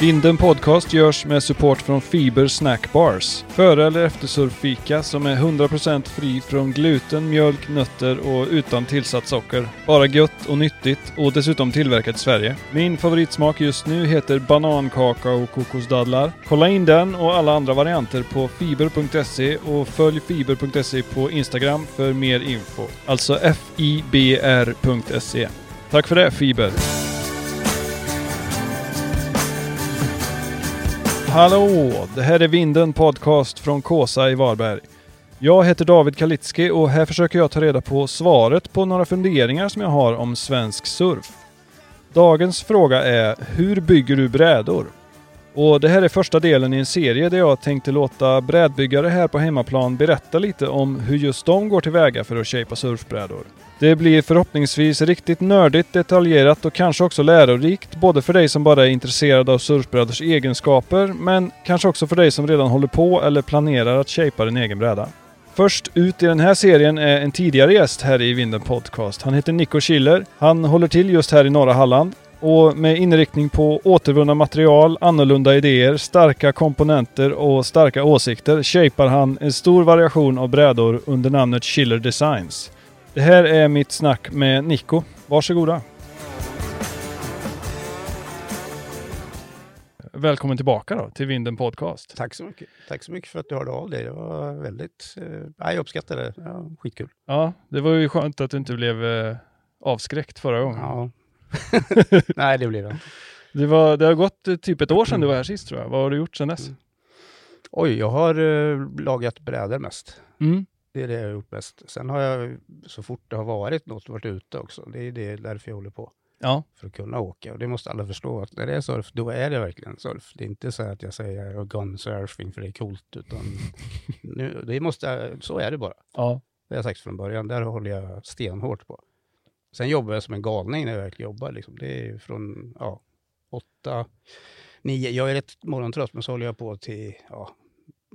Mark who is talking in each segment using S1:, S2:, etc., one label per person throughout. S1: Linden Podcast görs med support från Fiber Snack Bars. Före eller eftersurffika som är 100% fri från gluten, mjölk, nötter och utan tillsatt socker. Bara gött och nyttigt och dessutom tillverkat i Sverige. Min favoritsmak just nu heter banankaka och kokosdadlar. Kolla in den och alla andra varianter på fiber.se och följ fiber.se på Instagram för mer info. Alltså fibr.se. E. Tack för det Fiber! Hallå! Det här är Vinden Podcast från Kåsa i Varberg. Jag heter David Kalitski och här försöker jag ta reda på svaret på några funderingar som jag har om svensk surf. Dagens fråga är Hur bygger du brädor? Och det här är första delen i en serie där jag tänkte låta brädbyggare här på hemmaplan berätta lite om hur just de går tillväga för att shapea surfbrädor. Det blir förhoppningsvis riktigt nördigt, detaljerat och kanske också lärorikt både för dig som bara är intresserad av surfbrädors egenskaper men kanske också för dig som redan håller på eller planerar att shapea din egen bräda. Först ut i den här serien är en tidigare gäst här i Vinden Podcast. Han heter Nico Schiller. Han håller till just här i norra Halland och med inriktning på återvunna material, annorlunda idéer, starka komponenter och starka åsikter shapar han en stor variation av brädor under namnet Schiller Designs. Det här är mitt snack med Nico. Varsågoda! Välkommen tillbaka då till Vinden Podcast.
S2: Tack så mycket. Tack så mycket för att du hörde av dig. Det var väldigt... Eh, nej, jag uppskattar det. Ja, skitkul.
S1: Ja, det var ju skönt att du inte blev eh, avskräckt förra gången.
S2: Ja. nej, det blev det.
S1: Det, var, det har gått eh, typ ett år sedan du var här sist tror jag. Vad har du gjort sedan
S2: Mm.
S1: dess?
S2: Oj, jag har eh, lagat brädor mest.
S1: Mm.
S2: Det är det jag har gjort mest. Sen har jag så fort det har varit något varit ute också. Det är det därför jag håller på.
S1: Ja.
S2: För att kunna åka. Och det måste alla förstå. Att när det är surf, då är det verkligen surf. Det är inte så att jag säger jag har gone surfing för det är coolt. Utan nu, det måste, så är det bara.
S1: ja.
S2: Det har jag sagt från början, där håller jag stenhårt på. Sen jobbar jag som en galning när jag verkligen jobbar. Liksom. Det är från ja, åtta, nio. Jag är rätt morgontrött, men så håller jag på till ja,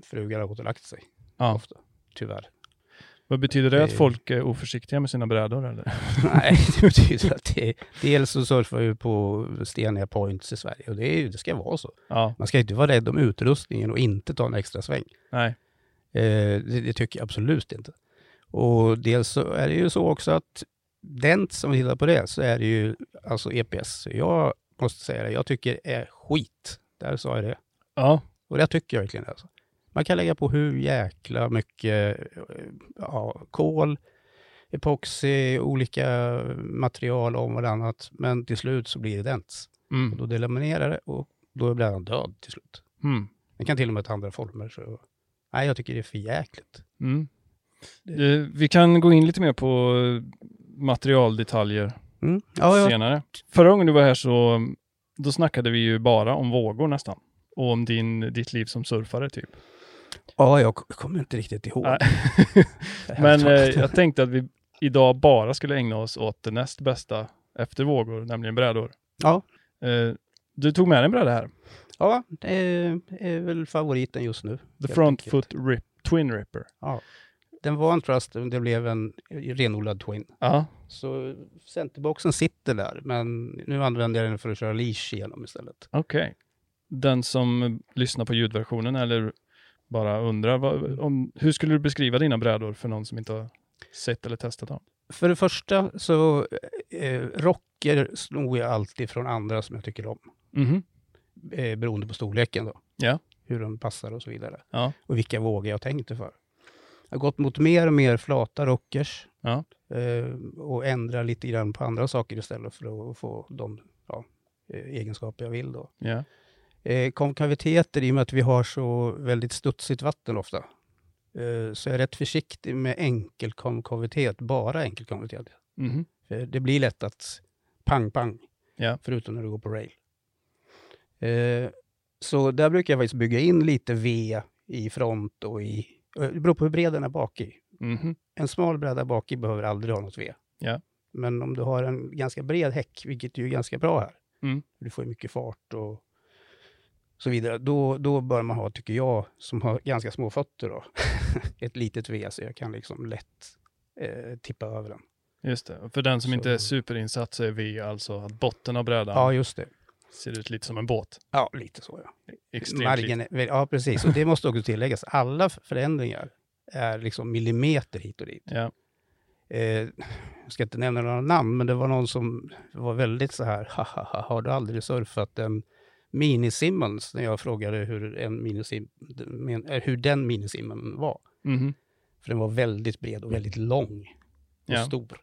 S2: frugan har gått och lagt sig.
S1: Ja.
S2: Ofta, tyvärr.
S1: Vad betyder det att
S2: Det-
S1: folk är oförsiktiga med sina brädor eller?
S2: Nej, det betyder att det, dels så surfar jag ju på steniga points i Sverige och det, är, ju- det ska vara så.
S1: Ja,
S2: Man ska inte vara rädd om utrustningen och inte ta en extra sväng.
S1: nej.
S2: Eh, det, det tycker jag absolut inte. Och dels så är det ju så också att den som tittar på det så är det ju alltså EPS. Jag måste säga det, jag tycker är skit. Där sa jag det.
S1: Ja,
S2: Och det tycker jag verkligen. Alltså. Man kan lägga på hur jäkla mycket eh, ja, kol, epoxy, olika material om vartannat. Men till slut så blir det dents. Och
S1: mm.
S2: då delaminerar det och då blir den död till slut.
S1: Mm.
S2: Den kan till och med ta andra former. Så... Nej, jag tycker det är för jäkligt.
S1: Mm.
S2: Det-
S1: Eh, Vi kan gå in lite mer på eh, materialdetaljer
S2: Mm. Ja, jag
S1: senare. Förra gången du var här så mm, då snackade vi ju bara om vågor nästan. Och om din, ditt liv som surfare typ.
S2: Ja, jag k- kommer inte riktigt ihåg.
S1: Nej.
S2: Det här
S1: Men eh,
S2: talet.
S1: jag tänkte att vi idag bara skulle ägna oss åt det näst bästa efter vågor, nämligen brädor.
S2: Ja.
S1: Eh, du tog med dig en bräda här.
S2: Ja, det är, är väl favoriten just nu.
S1: The
S2: helt
S1: Front
S2: enkelt.
S1: Foot Rip, Twin Ripper.
S2: Den var en trust, men det blev en renodlad twin.
S1: Ja,
S2: Så centerboxen sitter där, men nu använder jag den för att köra leash igenom istället.
S1: okej. Den som eh, lyssnar på ljudversionen eller bara undrar, vad, om, hur skulle du beskriva dina brädor för någon som inte har sett eller testat dem?
S2: För det första så eh, rocker snor jag alltid från andra som jag tycker om, Mm-hmm.
S1: Mhm.
S2: eh, beroende på storleken då.
S1: Ja.
S2: Hur de passar och så vidare.
S1: Ja.
S2: och vilka vågor jag tänkte för. Jag har gått mot mer och mer flata rockers
S1: Ja.
S2: eh, och ändra lite grann på andra saker istället för att få de ja, eh, egenskaper jag vill. Då.
S1: Ja.
S2: Eh, konkaviteter, i och med att vi har så väldigt studsigt vatten ofta, eh, så är jag rätt försiktig med enkelkonkavitet, bara enkelkonkavitet.
S1: Mhm.
S2: För det blir lätt att pang, pang,
S1: Ja.
S2: förutom när du går på rail. Eh, så där brukar jag faktiskt bygga in lite V i front och i... eh, Det beror på hur bred den är bak i.
S1: Mhm.
S2: En smal bräda bak i behöver aldrig ha något V.
S1: Ja.
S2: Men om du har en ganska bred häck, vilket ju är ganska bra här,
S1: Mm.
S2: du får ju mycket fart och så vidare, då, då bör man ha, tycker jag, som har ganska små fötter, då, ett litet V så jag kan liksom lätt eh, tippa över den.
S1: Just det. För den som
S2: Så-
S1: inte är superinsatt så är vi alltså att botten av brädan
S2: Ja, just det.
S1: Ser ut lite som en båt.
S2: Ja, lite så ja.
S1: Extremt lite.
S2: Margen, ja, precis. Och det måste också tilläggas. Alla förändringar är liksom millimeter hit och dit.
S1: Ja.
S2: Eh, jag ska inte nämna några namn, men det var någon som var väldigt så här, haha, har du aldrig surfat en minisimmons? När jag frågade hur, en minisim, men- eh, hur den minisimmen var.
S1: Mhm.
S2: För den var väldigt bred och väldigt lång och
S1: Ja.
S2: stor.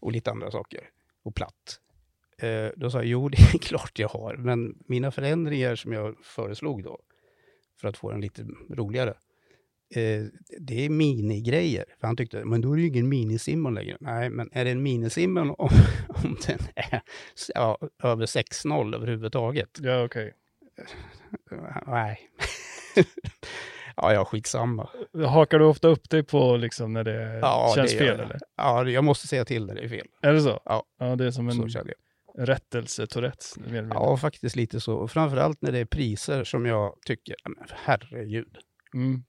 S2: Och lite andra saker. Och platt. Eh, då sa jag, jo det är klart jag har, men mina förändringar som jag föreslog då, för att få den lite roligare, eh, det är minigrejer. För han tyckte, men då är det ju ingen minisimmon längre. Nej, men är det en minisimmon om, om den är ja, över 6-0 överhuvudtaget?
S1: Ja, okej.
S2: Nej. ja, ja, skitsamma.
S1: Hakar du ofta upp dig på liksom när det
S2: Ja,
S1: känns
S2: det gör
S1: fel
S2: jag.
S1: eller?
S2: Ja, jag måste säga till när det är fel.
S1: Är det så?
S2: Ja.
S1: ja det är som
S2: Så
S1: en
S2: kände jag.
S1: rättelse-tourettes. mer eller mindre.
S2: Ja, faktiskt lite så. Och Framförallt när det är priser som jag tycker, ja, men herregud.
S1: Mm.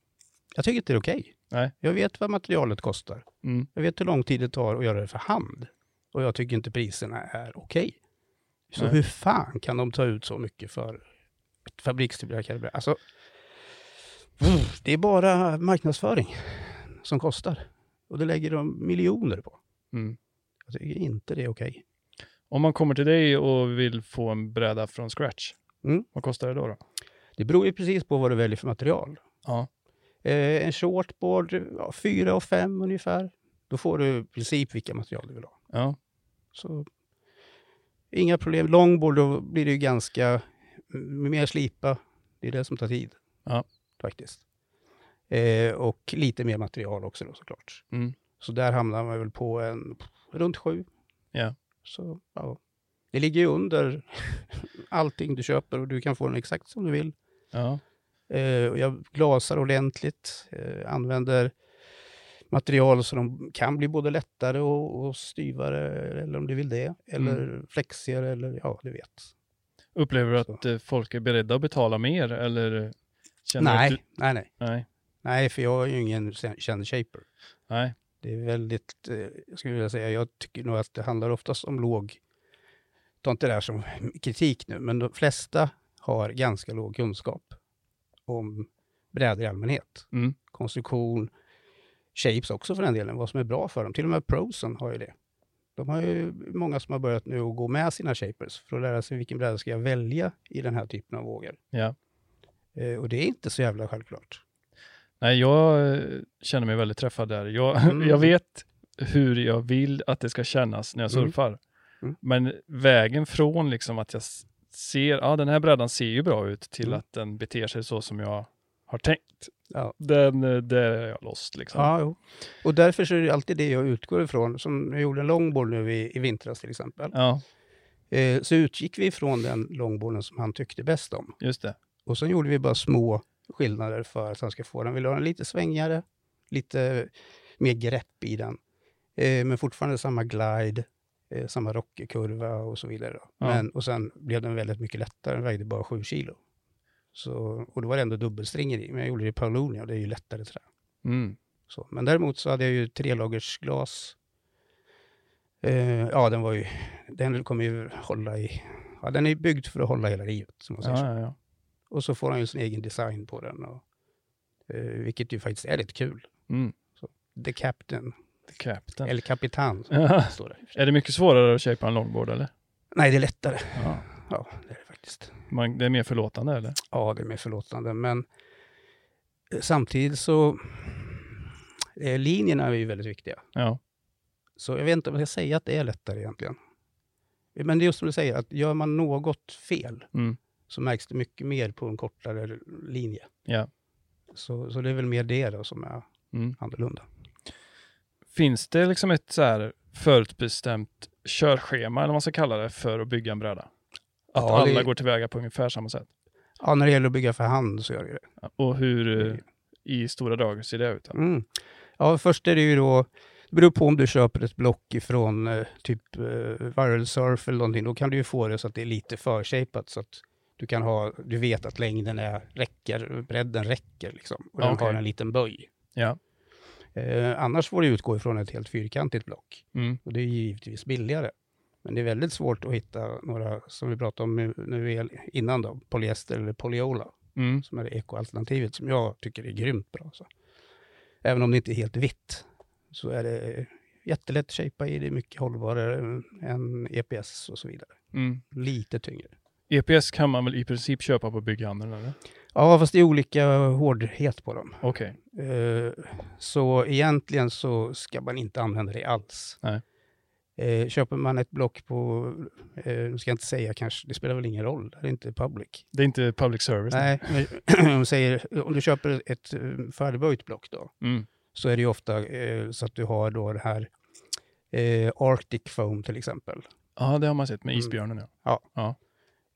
S2: Jag tycker inte det är okej.
S1: Nej.
S2: Jag vet vad materialet kostar.
S1: Mm.
S2: Jag vet hur lång tid det tar att göra det för hand. Och jag tycker inte priserna är okej. Så
S1: Nej.
S2: hur fan kan de ta ut så mycket för ett fabrikstillverkat bräde? Alltså, pff, det är bara marknadsföring som kostar. Och det lägger de miljoner på.
S1: Mm.
S2: Jag tycker inte det är okej.
S1: Om man kommer till dig och vill få en bräda från scratch,
S2: Mm.
S1: vad kostar det då? då?
S2: Det beror ju precis på vad du väljer för material.
S1: Ja.
S2: Eh, en shortboard, ja, 4 och 5 ungefär. Då får du i princip vilka material du vill ha.
S1: Ja.
S2: Så, inga problem. Longboard, då blir det ju ganska m- mer slipa. Det är det som tar tid.
S1: Ja.
S2: Faktiskt. Eh, och lite mer material också då såklart.
S1: Mm.
S2: Så där hamnar man väl på en runt 7.
S1: Ja.
S2: Så, ja. Det ligger ju under allting du köper och du kan få den exakt som du vill.
S1: ja.
S2: Eh, och jag glasar ordentligt, eh, använder material så de kan bli både lättare och, och styvare, eller om du vill det, eller
S1: Mm.
S2: flexigare, eller ja, du vet.
S1: Upplever du
S2: Så.
S1: att eh, folk är beredda att betala mer eller? Känner du att
S2: Nej,
S1: Du...
S2: nej, nej,
S1: Nej.
S2: nej, för jag är ju ingen sen- känd shaper.
S1: Nej.
S2: Det är väldigt, eh, jag skulle vilja säga, jag tycker nog att det handlar oftast om låg, ta inte det här som kritik nu, men de flesta har ganska låg kunskap om brädor i allmänhet.
S1: Mm.
S2: konstruktion, shapes också för den delen, vad som är bra för dem. Till och med prosen har ju det. De har ju många som har börjat nu att gå med sina shapers för att lära sig vilken bräda ska jag välja i den här typen av vågor.
S1: Ja.
S2: Eh, och det är inte så jävla självklart.
S1: Nej, jag eh, känner mig väldigt träffad där. Jag,
S2: Mm.
S1: jag vet hur jag vill att det ska kännas när jag
S2: Mm.
S1: surfar.
S2: Mm.
S1: Men vägen från liksom att jag s- ser, ja den här brädan ser ju bra ut till
S2: Mm.
S1: att den beter sig så som jag har tänkt.
S2: Ja.
S1: Den, eh, där är jag lost liksom.
S2: Ja, jo. Och därför så är det alltid det jag utgår ifrån. Som jag gjorde en longboard nu i, i vintras till exempel.
S1: ja
S2: Eh, så utgick vi ifrån den longboarden som han tyckte bäst om.
S1: just det.
S2: Och sen gjorde vi bara små skillnader för att han ska få den. Vill ha den lite svängigare, lite mer grepp i den. Eh, men fortfarande samma glide, eh, samma rockkurva och så vidare. Då.
S1: Ja.
S2: Men, och sen blev den väldigt mycket lättare, den vägde bara 7 kilo. Så, och då var det ändå dubbelstringer i, men jag gjorde det i Paulonia och det är ju lättare trä.
S1: Mm.
S2: Så, men däremot så hade jag ju trelagersglas. Eh, ja, den var ju, den kommer ju hålla i, ja, den är byggd för att hålla hela livet. Som man säger så.
S1: Ja, ja, ja.
S2: Och så får han ju sin egen design på den. Och, eh, vilket ju faktiskt är lite kul.
S1: Mm.
S2: The Captain,
S1: The Captain.
S2: eller Kapitan, står det.
S1: är det mycket svårare att shapea en longboard eller?
S2: Nej, det är lättare.
S1: Ja.
S2: Ja, det är det faktiskt.
S1: Man, det är mer förlåtande eller?
S2: Ja, det är mer förlåtande, men eh, samtidigt så... Eh, linjerna är ju väldigt viktiga.
S1: Ja.
S2: Så jag vet inte om jag ska säga att det är lättare egentligen. Men det är just som du säger, att gör man något fel
S1: Mm.
S2: så märks det mycket mer på en kortare linje.
S1: Ja.
S2: Så, så det är väl mer det då som är
S1: Mm.
S2: annorlunda.
S1: Finns det liksom ett så här förutbestämt körschema eller vad man ska kalla det för att bygga en bräda? Att
S2: Ja, det-
S1: alla går tillväga på ungefär samma sätt?
S2: Ja, när det gäller att bygga för hand så gör det det.
S1: Och hur eh,
S2: Mm.
S1: i stora drag ser det ut? Då?
S2: Mm. Ja, först är det ju då, det beror på om du köper ett block ifrån eh, typ eh, Viral Surf eller någonting, då kan du ju få det så att det är lite förshapat så att du kan ha, du vet att längden är, räcker, bredden räcker liksom. Och den
S1: Okej.
S2: har en liten böj.
S1: Ja.
S2: Eh, annars får du utgå ifrån ett helt fyrkantigt block
S1: Mm.
S2: och det är ju givetvis billigare. Men Men det är väldigt svårt att hitta några, som vi pratade om nu, nu el- innan då, polyester eller polyola,
S1: Mm.
S2: som är ekoalternativet som jag tycker är grymt bra. Så. Även om det inte är helt vitt, så är det jättelätt att shapea i, det är mycket hållbarare än- än EPS och så vidare.
S1: Mm.
S2: Lite tyngre.
S1: EPS kan man väl i princip köpa på bygghandeln eller?
S2: Ja, fast det är olika hårdhet på dem.
S1: Okej.
S2: Eh, Så egentligen så ska man inte använda det alls.
S1: Nej.
S2: Eh, Köper man ett block på, eh, nu ska jag inte säga kanske, det spelar väl ingen roll, det här är inte public.
S1: Det är inte public service?
S2: Nej, men om, säger, om du köper ett eh, färdigböjt block då,
S1: Mm.
S2: så är det ju ofta eh, så att du har då det här eh, Arctic foam till exempel.
S1: Ja, det har man sett med
S2: Mm.
S1: isbjörnen ja.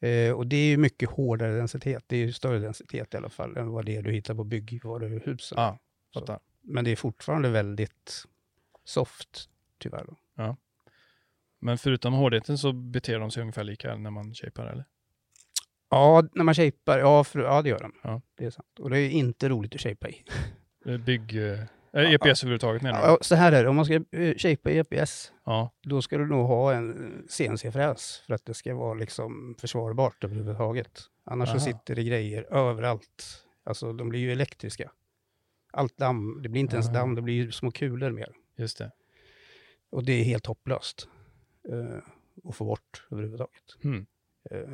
S2: Eh, och det är ju mycket hårdare densitet, det är ju större densitet i alla fall än vad det är du hittar på byggvaruhusen.
S1: Ja, fattar.
S2: Men det är fortfarande väldigt soft, tyvärr. Då.
S1: Men förutom hårdheten så beter de sig ungefär lika när man shapear eller?
S2: Ja, när man shapear, ja, för, ja det gör de.
S1: Ja.
S2: Det är sant. Och det är inte roligt att shapea i.
S1: Eh, Bygg... eh, eh, EPS överhuvudtaget menar du?
S2: Ja, så här är det, om man ska eh, shapea i EPS,
S1: Ja.
S2: då ska du nog ha en eh, CNC-fräs för att det ska vara liksom försvarbart överhuvudtaget. Annars
S1: Aha.
S2: så sitter det grejer överallt. Alltså de blir ju elektriska. Allt damm, det blir inte ens
S1: Aha.
S2: damm, det blir ju små kulor mer.
S1: Just det.
S2: Och det är helt hopplöst eh, att få bort överhuvudtaget.
S1: Mm.
S2: Eh,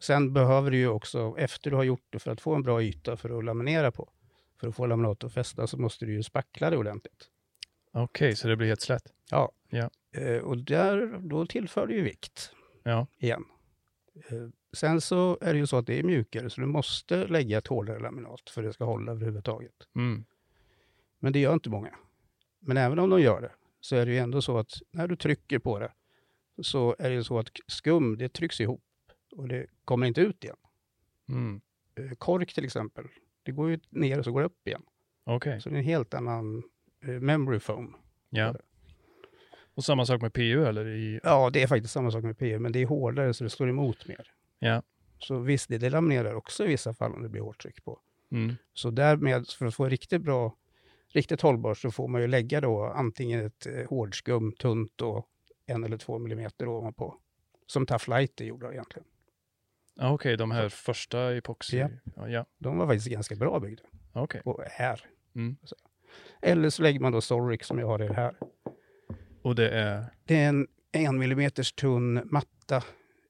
S2: Sen behöver du ju också, efter du har gjort det, för att få en bra yta för att laminera på, för att få laminat att fästa, så måste du ju spackla det ordentligt.
S1: Okej, så det blir helt slätt.
S2: Eh, Och där, då tillför du ju vikt
S1: Ja.
S2: igen. Eh, Sen så är det ju så att det är mjukare, så du måste lägga ett hårdare laminat för att det ska hålla överhuvudtaget.
S1: Mm.
S2: Men det gör inte många. Men även om de gör det, så är det ju ändå så att när du trycker på det, så är det ju så att skum, det trycks ihop och det kommer inte ut igen.
S1: Mm.
S2: Eh, kork till exempel, det går ju ner och så går det upp igen.
S1: Okej.
S2: Så det är en helt annan eh, memory foam.
S1: Ja. Och samma sak med PU eller? I...
S2: Ja, det är faktiskt samma sak med PU, men det är hårdare så det slår emot mer.
S1: Ja.
S2: Så visst, det, det laminerar också i vissa fall om det blir hårt tryck på.
S1: Mm.
S2: Så därmed, för att få riktigt bra, riktigt hållbart, så får man ju lägga då antingen ett eh, hårdskum, tunt och en eller två millimeter ovanpå. Som Tough Light är gjorda egentligen.
S1: Ja, Okej, de här första epoxy...
S2: Ja.
S1: Ja. ja.
S2: De var faktiskt ganska bra byggda.
S1: Okej.
S2: Och är.
S1: Mm.
S2: Så. Eller så lägger man då Solric som jag har i det här.
S1: Och det är...
S2: Det är en en millimeters tunn matta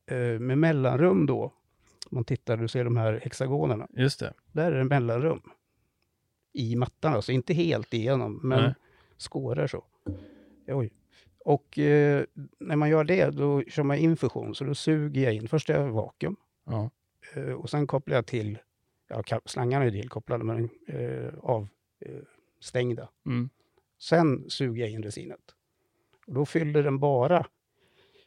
S2: eh, med mellanrum då. Om man tittar, du ser de här hexagonerna.
S1: Just det.
S2: Där är det mellanrum i mattan, alltså inte helt igenom, men
S1: Nej.
S2: skårar så. Oj. Och eh, när man gör det, då kör man in fusion, så då suger jag in. Först är jag vakuum
S1: Ja.
S2: eh, och sen kopplar jag till, ja, ka- slangarna är tillkopplade, men eh, avstängda. Eh, stängda.
S1: Mm.
S2: Sen suger jag in resinet. Och då fyller den bara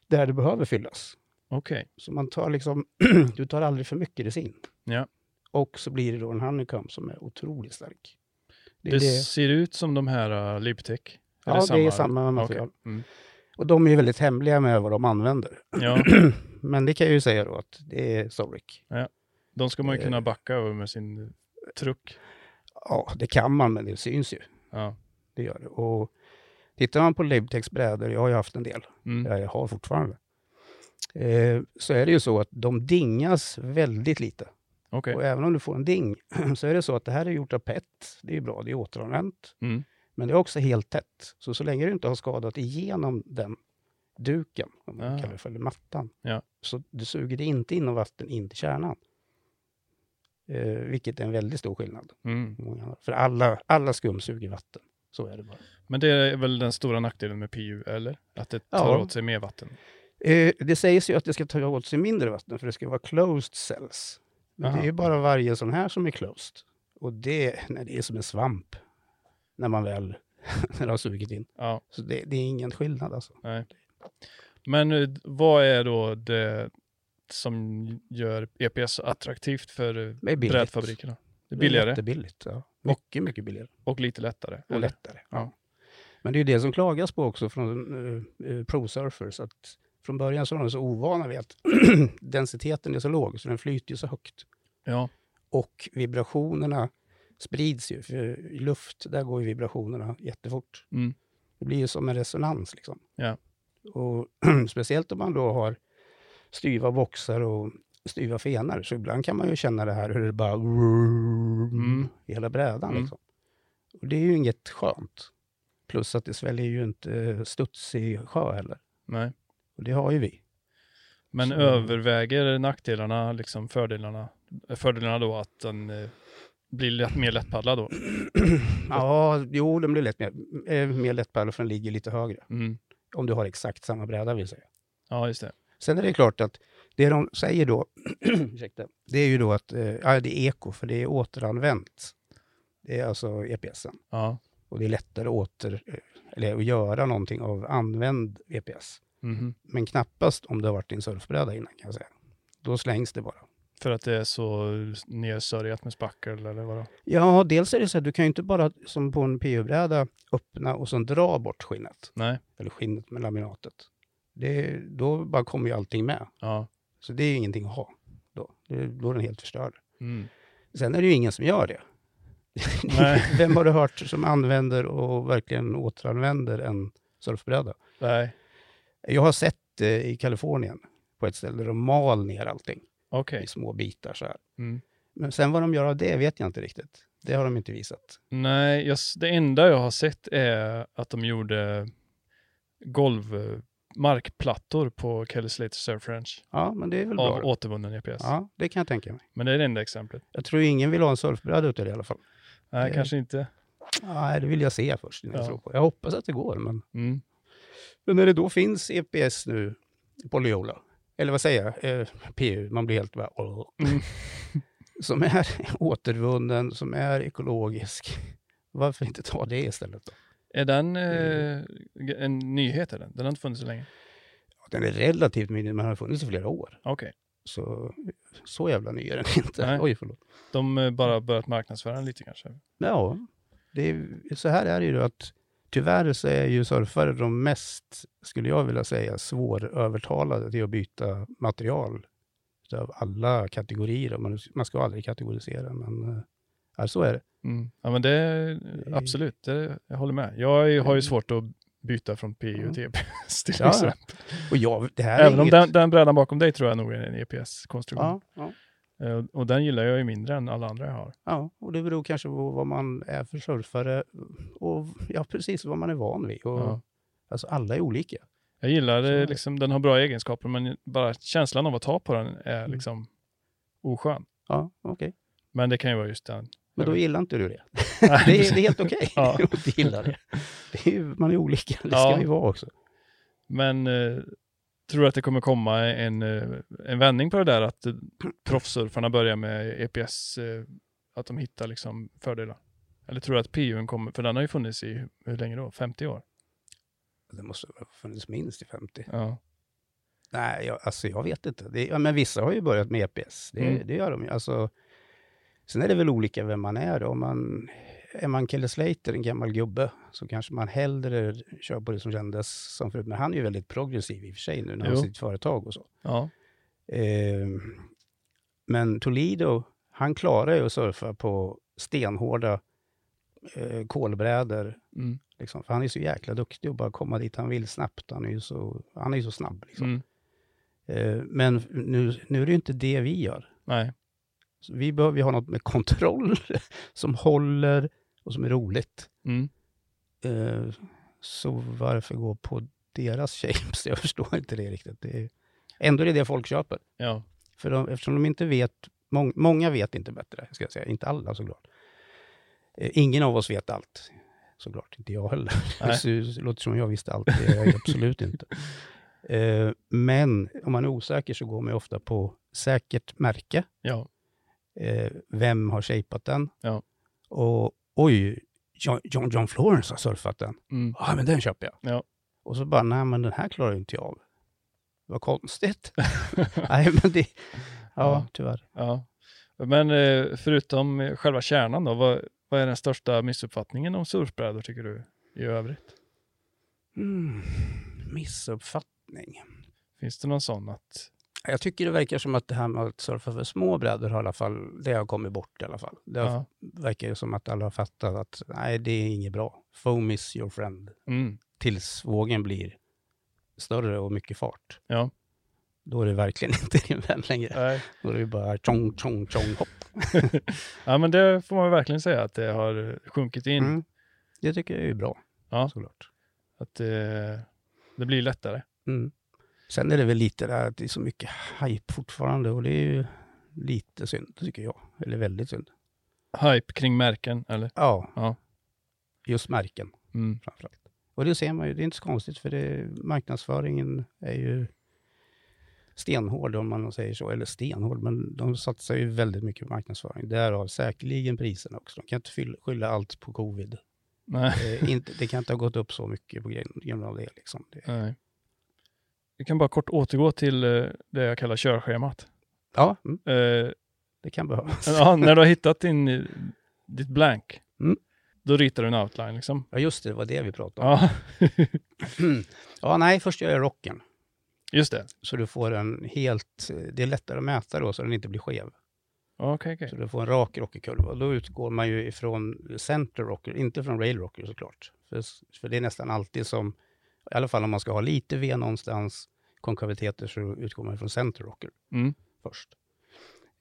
S2: där det behöver fyllas.
S1: Okej.
S2: Så man tar liksom, du tar aldrig för mycket resin.
S1: Ja.
S2: Och så blir det då en honeycomb som är otroligt stark. Det
S1: Det,
S2: är det,
S1: ser ut som de här uh, Libtech. Är
S2: ja, det är samma
S1: Okej.
S2: material.
S1: Mm.
S2: Och de är ju väldigt hemliga med vad de använder.
S1: Ja,
S2: Men det kan jag ju säga då att det är Zoric.
S1: de ska man ju
S2: Eh.
S1: kunna backa över med sin truck.
S2: Ja, det kan man, men det syns ju.
S1: Ja.
S2: Det gör det. Och tittar man på Libtex brädor, jag har ju haft en del.
S1: Mm.
S2: ja, jag har fortfarande, eh, så är det ju så att de dingas väldigt lite.
S1: Okej.
S2: Och även om du får en ding så är det så att det här är gjort av PET. Det är ju bra, det är återanvänt.
S1: Mm.
S2: Men det är också helt tätt. Så så länge du inte har skadat igenom den duken, om man
S1: Ah.
S2: kallar det för, eller mattan,
S1: Ja.
S2: så du suger det inte in något vatten in till kärnan. Eh, vilket är en väldigt stor skillnad.
S1: Mm.
S2: mot många andra. För alla, alla skum suger vatten. Så är det bara.
S1: Men det är väl den stora nackdelen med PU, eller? Att det tar
S2: Ja.
S1: åt sig mer vatten.
S2: Eh, det sägs ju att det ska ta åt sig mindre vatten för det ska vara closed cells. Men det
S1: Aha.
S2: är ju bara varje sån här som är closed. Och det, nej, det är som en svamp när man väl när det har sugit in.
S1: Ja.
S2: Så det, det är ingen skillnad alltså.
S1: Men eh, vad är då det som gör EPS attraktivt för eh,
S2: Det är billigt.
S1: brädfabrikerna? Det är
S2: Det är
S1: billigare
S2: jättebilligt. Ja. Mycket, mycket billigare.
S1: och lite lättare.
S2: Och
S1: eller?
S2: lättare.
S1: Ja.
S2: Men det är ju det som klagas på också från eh, eh, pro-surfers. Att från början så var de så ovana vid att densiteten är så låg så den flyter ju så högt.
S1: Ja,
S2: Och vibrationerna sprids ju. För I luft, där går ju vibrationerna jättefort.
S1: Mm.
S2: Det blir ju som en resonans liksom.
S1: Ja.
S2: Och speciellt om man då har styva boxar och styva fenar, så ibland kan man ju känna det här hur det bara
S1: Mm.
S2: i hela brädan.
S1: Mm.
S2: Liksom. Och det är ju inget skönt. Plus att det sväljer ju inte studsig sjö heller.
S1: Nej.
S2: Och det har ju vi.
S1: Men
S2: Så-
S1: överväger nackdelarna liksom fördelarna? Fördelarna då att den eh, blir lätt, mer lättpaddlad då?
S2: ja, jo, den blir lätt mer, eh, mer lättpaddlad för den ligger lite högre.
S1: Mm.
S2: Om du har exakt samma bräda vill säga.
S1: Ja, just det.
S2: Sen är det klart att det de säger då, ursäkta, det är ju då att eh, ja, det är eko, för det är återanvänt. Det är alltså EPSen.
S1: Ja.
S2: Och det är lättare att åter, eh, eller att göra någonting av använd EPS.
S1: Mhm.
S2: Men knappast om det har varit din surfbräda innan kan jag säga. Då slängs det bara.
S1: För att det är så nedsörjat med spackel eller vadå?
S2: Ja, dels är det så att du kan ju inte bara som på en PU-bräda öppna och sen dra bort skinnet.
S1: Nej.
S2: Eller skinnet med laminatet. Det, då bara kommer ju allting med.
S1: Ja.
S2: Så det är ju ingenting att ha. Då, Det- då är den helt förstörd.
S1: Mm.
S2: Sen är det ju ingen som gör det.
S1: Nej.
S2: Vem har du hört som använder och verkligen återanvänder en surfbräda?
S1: Nej.
S2: Jag har sett det i Kalifornien på ett ställe där de mal ner allting
S1: Okej.
S2: i små bitar så här.
S1: Mm.
S2: Men sen vad de gör av det vet jag inte riktigt. Det har de inte visat.
S1: Nej, jag, s- det enda jag har sett är att de gjorde golv eh, markplattor på Kelly Slater Surf Ranch
S2: Ja, men det är väl
S1: av
S2: bra. då.
S1: återvunnen EPS.
S2: Ja, det kan jag tänka mig.
S1: Men det är det enda exemplet.
S2: Jag tror ingen vill ha en surfbräda utav det i alla fall.
S1: Nej,
S2: Det-
S1: kanske inte.
S2: Nej, det vill jag se först innan
S1: Ja.
S2: jag tror på. Jag hoppas att det går, men...
S1: Mm.
S2: Men när det då finns EPS nu på Leola, eller vad säger jag, eh, PU, man blir helt bara... "Åh."
S1: Mm.
S2: som är återvunnen, som är ekologisk. Varför inte ta det istället då?
S1: Är den eh, g- en nyhet? Är den? den har inte funnits så länge.
S2: Den är relativt ny, men den har funnits i flera år.
S1: Okej.
S2: Så, så jävla ny är den inte.
S1: Nej.
S2: Oj, förlåt.
S1: De eh, bara börjat marknadsföra den lite kanske.
S2: Ja,
S1: Mm.
S2: det är, så här är det ju då att tyvärr så är ju surfare de mest, skulle jag vilja säga, svårövertalade till att byta material av alla kategorier. Man, man ska aldrig kategorisera, men eh, ja, så är det.
S1: Mm. Ja, men det, absolut, det, jag håller med. Jag är- har ju svårt att byta från PU
S2: Mm.
S1: till E EPS till
S2: Ja, ja.
S1: exempel.
S2: Och jag, det här
S1: Även
S2: är
S1: om
S2: inget...
S1: den, den brädan bakom dig tror jag nog är en EPS-konstruktion.
S2: Ja, ja,
S1: Eh, Och den gillar jag ju mindre än alla andra jag har.
S2: ja, och det beror kanske på vad man är för surfare och ja, precis vad man är van vid. Och,
S1: Ja.
S2: Alltså alla är olika.
S1: Jag gillar
S2: Så är
S1: eh,
S2: det.
S1: liksom, den har bra egenskaper men bara känslan av att ta på den är
S2: Mm.
S1: liksom oskön.
S2: Ja, okej.
S1: Men det kan ju vara just den. Jag
S2: Men då gillar inte du det. det, är, det är helt okej
S1: Ja.
S2: att gilla det. det är, ju- man är olika, det ska
S1: Ja.
S2: vi vara också.
S1: Men eh, tror du att det kommer komma en, eh, en vändning på det där att eh, proffssurfarna börjar med EPS, eh, att de hittar liksom fördelar? Eller tror du att PUn kommer, för den har ju funnits i, hur länge då? 50 år?
S2: Det måste ha funnits minst i 50.
S1: Ja.
S2: Nej, jag, alltså jag vet inte. Det, ja, men vissa har ju börjat med EPS. Det,
S1: Mm.
S2: det gör de ju. Alltså, sen är det väl olika vem man är. Då. Om man, är man Kelly Slater, en gammal gubbe, så kanske man hellre kör på det som kändes som förut. Men han är ju väldigt progressiv i och för sig nu när han
S1: Jo.
S2: har sitt företag och så.
S1: ja.
S2: Ehm, men Toledo, han klarar ju att surfa på stenhårda eh, kolbrädor.
S1: Mm.
S2: Liksom. För han är så jäkla duktig och bara komma dit han vill snabbt. Han är ju så, han är ju så snabb. Liksom.
S1: Mm.
S2: Eh, men nu, nu är det ju inte det vi gör.
S1: Nej.
S2: Så vi behöver ju ha något med kontroll som håller och som är roligt.
S1: Mm.
S2: Eh, så varför gå på deras shapes? Jag förstår inte det riktigt. Det är, ändå är det det folk köper.
S1: Ja.
S2: För de, eftersom de inte vet, mång, många vet inte bättre, ska jag säga, inte alla såklart. Eh, ingen av oss vet allt, såklart, inte jag heller.
S1: Nej.
S2: Så, det låter som jag visste allt, det gör jag absolut inte. Eh, men om man är osäker så går man ju ofta på säkert märke.
S1: Ja.
S2: Eh, vem har shapat den?
S1: Ja.
S2: Och oj, John, John, John Florence har surfat den.
S1: Mm.
S2: Ja, men den köper jag.
S1: Ja.
S2: Och så bara, nej men den här klarar ju inte jag av. Vad konstigt. nej, men det...
S1: Ja.
S2: Ja, tyvärr.
S1: Ja. Men eh, förutom eh, själva kärnan då, vad, vad är den största missuppfattningen om surfbrädor tycker du i övrigt?
S2: Mm, missuppfattning.
S1: Finns det någon sån att,
S2: Jag tycker det verkar som att det här med att surfa för små brädor har i alla fall, det har kommit bort i alla fall. Det har,
S1: ja.
S2: verkar ju som att alla har fattat att nej, det är inget bra. Foam is your friend.
S1: Mm.
S2: Tills vågen blir större och mycket fart.
S1: Ja.
S2: Då är det verkligen inte din vän längre.
S1: Nej.
S2: Då är det bara tjong, tjong, tjong, hopp.
S1: Ja, men det får man ju verkligen säga att det har sjunkit in.
S2: Mm. Det tycker jag är bra,
S1: Ja.
S2: såklart.
S1: Att det, det blir lättare.
S2: Mm. Sen är det väl lite där att det är så mycket hype fortfarande och det är ju lite synd, tycker jag. Eller väldigt synd.
S1: Hype kring märken, eller?
S2: Ja.
S1: Ja.
S2: Just märken
S1: Mm.
S2: framförallt. Och det ser man ju, det är inte så konstigt för det, marknadsföringen är ju stenhård om man säger så. Eller stenhård, men de satsar ju väldigt mycket på marknadsföring. Därav säkerligen priserna också. De kan inte fylla, skylla allt på covid.
S1: Nej.
S2: Eh, inte, det kan inte ha gått upp så mycket på grund- på grund av det. Liksom. det
S1: Nej. Vi kan bara kort återgå till eh, det jag kallar körschemat.
S2: ja, mm,
S1: Eh,
S2: det kan behövas.
S1: Ja, när du har hittat din, eh, ditt blank,
S2: Mm.
S1: då ritar du en outline liksom.
S2: Ja, just det, det var det vi pratade om.
S1: Ja,
S2: Ja, nej, först gör jag rocken.
S1: just det.
S2: Så du får en helt... Det är lättare att mäta då, så den inte blir skev.
S1: Ja, Okej, okej.
S2: Så du får en rak rockerkurva. Och Då utgår man ju ifrån center rocker, inte från rail rocker såklart. För, för det är nästan alltid som, i alla fall om man ska ha lite V någonstans, konkaviteter, så utgår man ifrån center rocker
S1: Mm.
S2: först.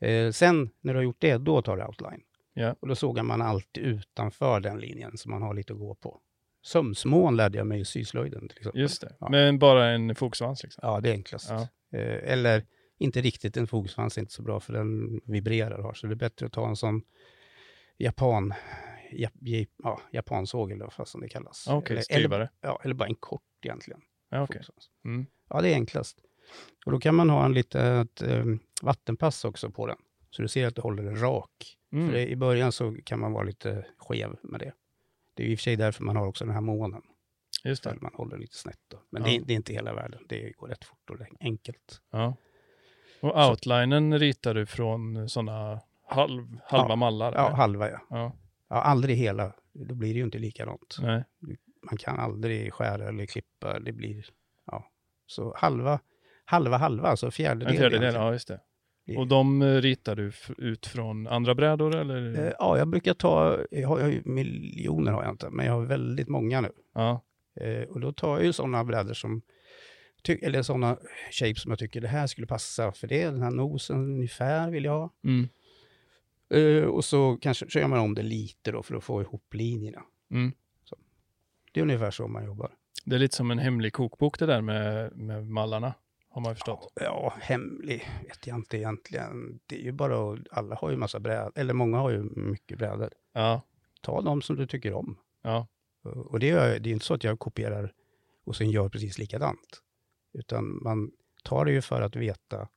S2: Eh, sen när du har gjort det, då tar du outline.
S1: Ja.
S2: Och då sågar man alltid utanför den linjen, så man har lite att gå på. Sömsmån lärde jag mig i syslöjden till exempel.
S1: Just det.
S2: Ja.
S1: Men bara en fogsvans liksom.
S2: Ja, det är enklast.
S1: Ja.
S2: Eh, Eller inte riktigt, en fogsvans är inte så bra för den vibrerar och har, så det är bättre att ta en sån japan, ja, ja, ja, japansåg eller vad fasen det kallas.
S1: Okej,
S2: eller, eller,
S1: styvare.
S2: ja, eller bara en kort egentligen.
S1: Ja, okej.
S2: fogsvans.
S1: Mm.
S2: Ja, det är enklast. Och då kan man ha en litet eh, vattenpass också på den, så du ser att du håller den rak. För
S1: Mm.
S2: det, i början så kan man vara lite skev med det. Det är ju i och för sig därför man har också den här månen,
S1: Just
S2: för
S1: det.
S2: man håller lite snett. Då. Men
S1: Ja.
S2: det, det är inte hela världen, det går rätt fort och det är enkelt.
S1: Ja. Och outlinen ritar du från sådana halv, halva
S2: Ja.
S1: mallar?
S2: Ja,
S1: eller?
S2: halva ja.
S1: ja.
S2: ja. Aldrig hela. Då blir det ju inte likadant.
S1: Nej.
S2: Man kan aldrig skära eller klippa. Det blir, ja. Så halva, halva, halva, alltså fjärdedel.
S1: En fjärdedel,
S2: egentligen.
S1: ja just det. Och de eh, ritar du f- ut från andra brädor eller?
S2: Eh, ja, jag brukar ta, jag har, jag har ju miljoner har jag inte, men jag har väldigt många nu.
S1: Ja,
S2: Eh, och då tar jag ju sådana brädor som, ty, eller sådana shapes som jag tycker det här skulle passa för det, den här nosen ungefär vill jag ha.
S1: mm.
S2: Eh, och så kanske så gör man om det lite då för att få ihop linjerna.
S1: Mm.
S2: Så. Det är ungefär så man jobbar.
S1: det är lite som en hemlig kokbok det där med, med mallarna, har man ju förstått.
S2: Ja, hemlig vet jag inte egentligen. Det är ju bara att alla har ju massa brädor, eller många har ju mycket brädor.
S1: Ja,
S2: Ta de som du tycker om.
S1: ja,
S2: Och det, gör, jag- det är inte så att jag kopierar och sen gör precis likadant. Utan man tar det ju för att veta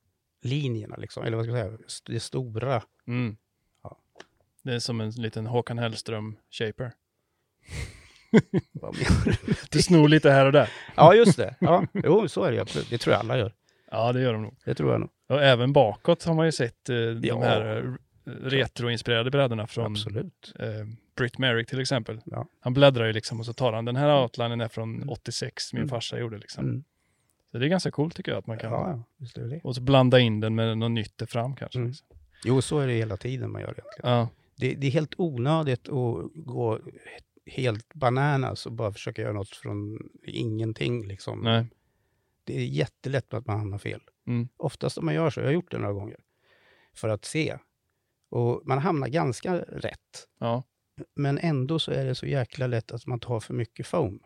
S2: linjerna, liksom. eller vad ska jag säga, st- det stora.
S1: Mm.
S2: Ja.
S1: Det är som en liten Håkan Hellström-shaper.
S2: Vad menar du?
S1: Du snor lite här och där.
S2: ja, just det. Ja. Jo, så är det ju absolut. Det tror jag alla gör.
S1: Ja, det gör de nog.
S2: Det tror jag nog.
S1: Och även bakåt har man ju sett eh,
S2: Ja.
S1: de här eh, retroinspirerade brädorna från
S2: Absolut.
S1: eh, Britt Merrick till exempel.
S2: Ja.
S1: Han bläddrar ju liksom och så tar han den här outlinen är från
S2: Mm.
S1: 86, min
S2: Mm.
S1: farsa gjorde liksom.
S2: Mm.
S1: Så det är ganska coolt tycker jag att man
S2: Ja,
S1: kan.
S2: ja, visst är det det.
S1: Och så blanda in den med något nytt där fram kanske.
S2: Mm.
S1: Liksom.
S2: Jo, så är det hela tiden man gör egentligen.
S1: Ja,
S2: Det, det är helt onödigt att gå helt bananas och bara försöka göra något från ingenting. Liksom.
S1: nej.
S2: Det är jättelätt att man hamnar fel.
S1: Mm.
S2: Oftast om man gör så, jag har gjort det några gånger, för att se. Och man hamnar ganska rätt,
S1: Ja.
S2: men ändå så är det så jäkla lätt att man tar för mycket foam.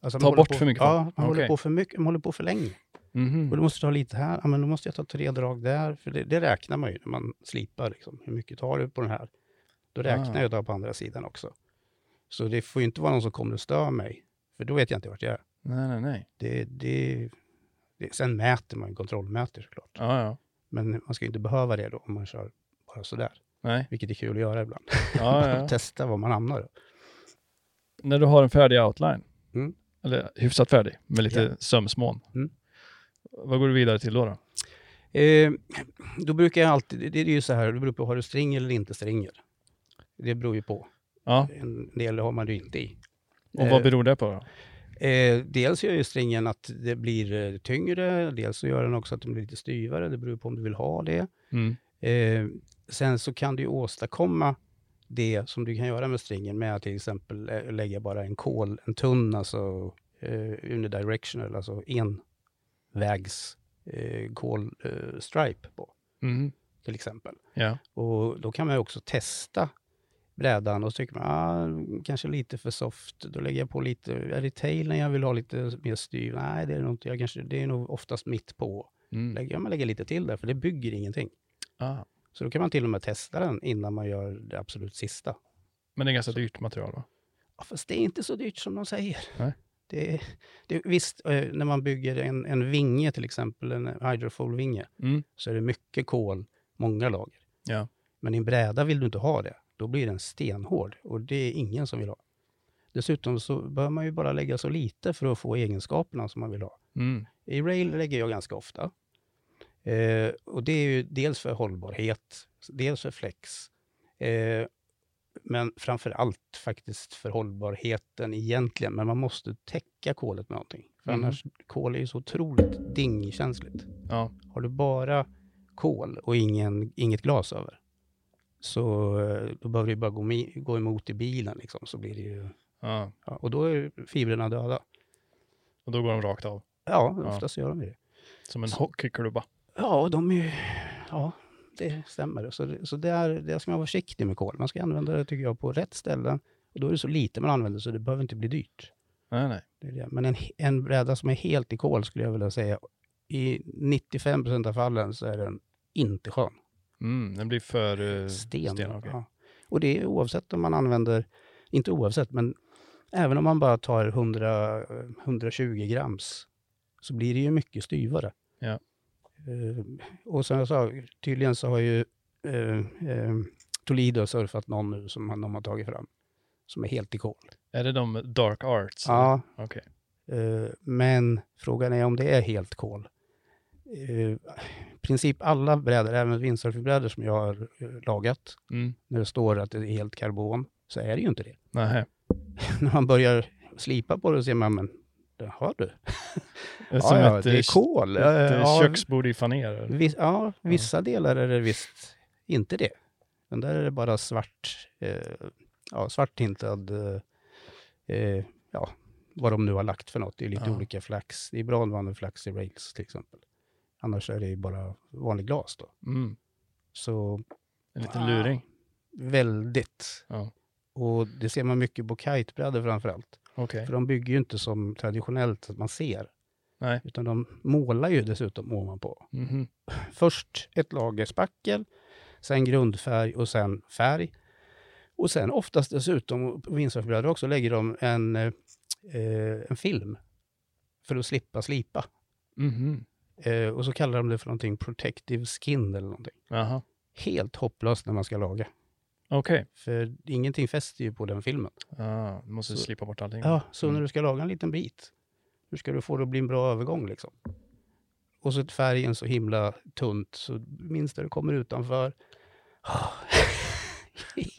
S2: Alltså, man
S1: Ta
S2: håller
S1: bort
S2: på,
S1: för mycket
S2: Ja,
S1: foam?
S2: man håller
S1: Okej.
S2: på för mycket, man håller på för länge.
S1: Mhm.
S2: Och då måste du ta lite här, ja, men då måste jag ta tre drag där, för det, det räknar man ju när man slipar. Liksom. Hur mycket tar du på den här? Då räknar
S1: Ah.
S2: jag då på andra sidan också. Så det får ju inte vara någon som kommer och stör mig, för då vet jag inte vart jag är.
S1: Nej, nej, nej.
S2: Det, det, det, sen mäter man ju, kontrollmäter såklart.
S1: Ja, ja.
S2: Men man ska ju inte behöva det då om man kör bara sådär,
S1: Nej.
S2: vilket är kul att göra ibland.
S1: Ja, ja.
S2: Testa var man hamnar. Då.
S1: när du har en färdig outline,
S2: Mm.
S1: eller hyfsat färdig, med lite
S2: Ja.
S1: sömsmån,
S2: Mm.
S1: vad går du vidare till då? då?
S2: Eh, då brukar jag alltid, det, det är ju så här, det beror på, har du stringer eller inte stringer? Det beror ju på.
S1: Ja,
S2: En del har man det ju inte i.
S1: och
S2: Eh,
S1: vad beror det på då?
S2: Eh, dels gör ju stringen att det blir eh, tyngre, dels så gör den också att den blir lite styvare, det beror på om du vill ha det.
S1: Mm.
S2: Eh, sen så kan du ju åstadkomma det som du kan göra med stringen med att till exempel eh, lägga bara en kol, en tunn, alltså eh, unidirectional, alltså envägs eh, call eh, stripe på,
S1: Mm.
S2: till exempel.
S1: Ja.
S2: Och då kan man ju också testa brädan och så tycker man ah, kanske lite för soft. Då lägger jag på lite, är det tailen jag vill ha lite mer styv? Nej, det är nog inte. Jag kanske, det är nog oftast mitt på.
S1: Mm.
S2: Lägger, ja, man lägger lite till där, för det bygger ingenting.
S1: Ah.
S2: Så då kan man till och med testa den innan man gör det absolut sista.
S1: Men det är ganska dyrt material va?
S2: Ja, fast det är inte så dyrt som de säger.
S1: Nej.
S2: Det, det, visst, eh, när man bygger en, en vinge till exempel, en hydrofoil-vinge,
S1: Mm.
S2: så är det mycket kol, många lager.
S1: Ja.
S2: Men i en bräda vill du inte ha det. Då blir den stenhård och det är ingen som vill ha. Dessutom så bör man ju bara lägga så lite för att få egenskaperna som man vill ha.
S1: Mm.
S2: I rail lägger jag ganska ofta. Eh, och det är ju dels för hållbarhet, dels för flex. Eh, men framför allt faktiskt för hållbarheten egentligen. Men man måste täcka kolet med någonting. För
S1: Mm.
S2: annars, kol är ju så otroligt dingkänsligt.
S1: Ja.
S2: Har du bara kol och ingen, inget glas över, så eh, då behöver du bara gå, mi- gå emot i bilen. Liksom, så blir det ju,
S1: ja.
S2: ja, och då är fibrerna döda.
S1: Och då går de rakt av.
S2: Ja,
S1: Ja.
S2: oftast gör de det.
S1: Som en hockeyklubba.
S2: Ja, och de är ju... Ja, det stämmer. Så, det- så där, där ska man vara försiktig med kol. Man ska använda det, tycker jag, på rätt ställen. Och då är det så lite man använder, så det behöver inte bli dyrt.
S1: Nej, nej.
S2: Det är det. Men en, en bräda som är helt i kol, skulle jag vilja säga, i 95 procent av fallen så är den inte skön.
S1: Mm. Den blir för eh,
S2: Sten.
S1: okej.
S2: ja. Och det är oavsett om man använder, inte oavsett, men även om man bara tar 100, eh, 120 grams så blir det ju mycket styvare.
S1: Ja.
S2: Eh, och som jag sa, tydligen så har ju eh, eh, Toledo surfat någon nu som han- de har tagit fram, som är helt i kol.
S1: Är det de dark arts?
S2: Ja,
S1: Okej.
S2: eh, men frågan är om det är helt kol. Eh, I princip alla brädor, även windsurfingbrädor som jag har eh, lagat,
S1: Mm.
S2: när det står att det är helt karbon, så är det ju inte det.
S1: Nähä.
S2: när man börjar slipa på det så ser man, men det har du.
S1: Det är
S2: Ja,
S1: som
S2: ja,
S1: ett,
S2: det
S1: eh,
S2: är kol.
S1: ett,
S2: Ja,
S1: eh,
S2: ja,
S1: köksbord i faner. eller?
S2: vis, ja, vissa delar är det visst inte det. Men där är det bara svart, eh, ja, svarttintad, eh, eh, ja, vad de nu har lagt för något. Det är lite
S1: Ja.
S2: olika flax. Det är bra att man använder flax i rails till exempel. Annars är det ju bara vanlig glas då.
S1: Mm.
S2: Så
S1: En liten
S2: Ah.
S1: luring.
S2: väldigt.
S1: Ja.
S2: Och det ser man mycket på kitebrädor framför allt.
S1: Okej.
S2: För de bygger ju inte som traditionellt att man ser.
S1: Nej.
S2: Utan de målar ju dessutom ovanpå.
S1: Mhm.
S2: Först ett lager spackel, sen grundfärg och sen färg. Och sen oftast dessutom, på windsurfbröder också, lägger de en, eh, eh, en film för att slippa slipa.
S1: Mhm.
S2: Eh, och så kallar de det för någonting protective skin eller någonting.
S1: Jaha.
S2: Helt hopplöst när man ska laga.
S1: Okej.
S2: För ingenting fäster ju på den filmen.
S1: Ah, du måste
S2: Så-
S1: slipa bort allting.
S2: Ja, så
S1: Mm.
S2: när du ska laga en liten bit, hur ska du få det att bli en bra övergång liksom? Och så är färgen så himla tunt, så minst när du kommer utanför.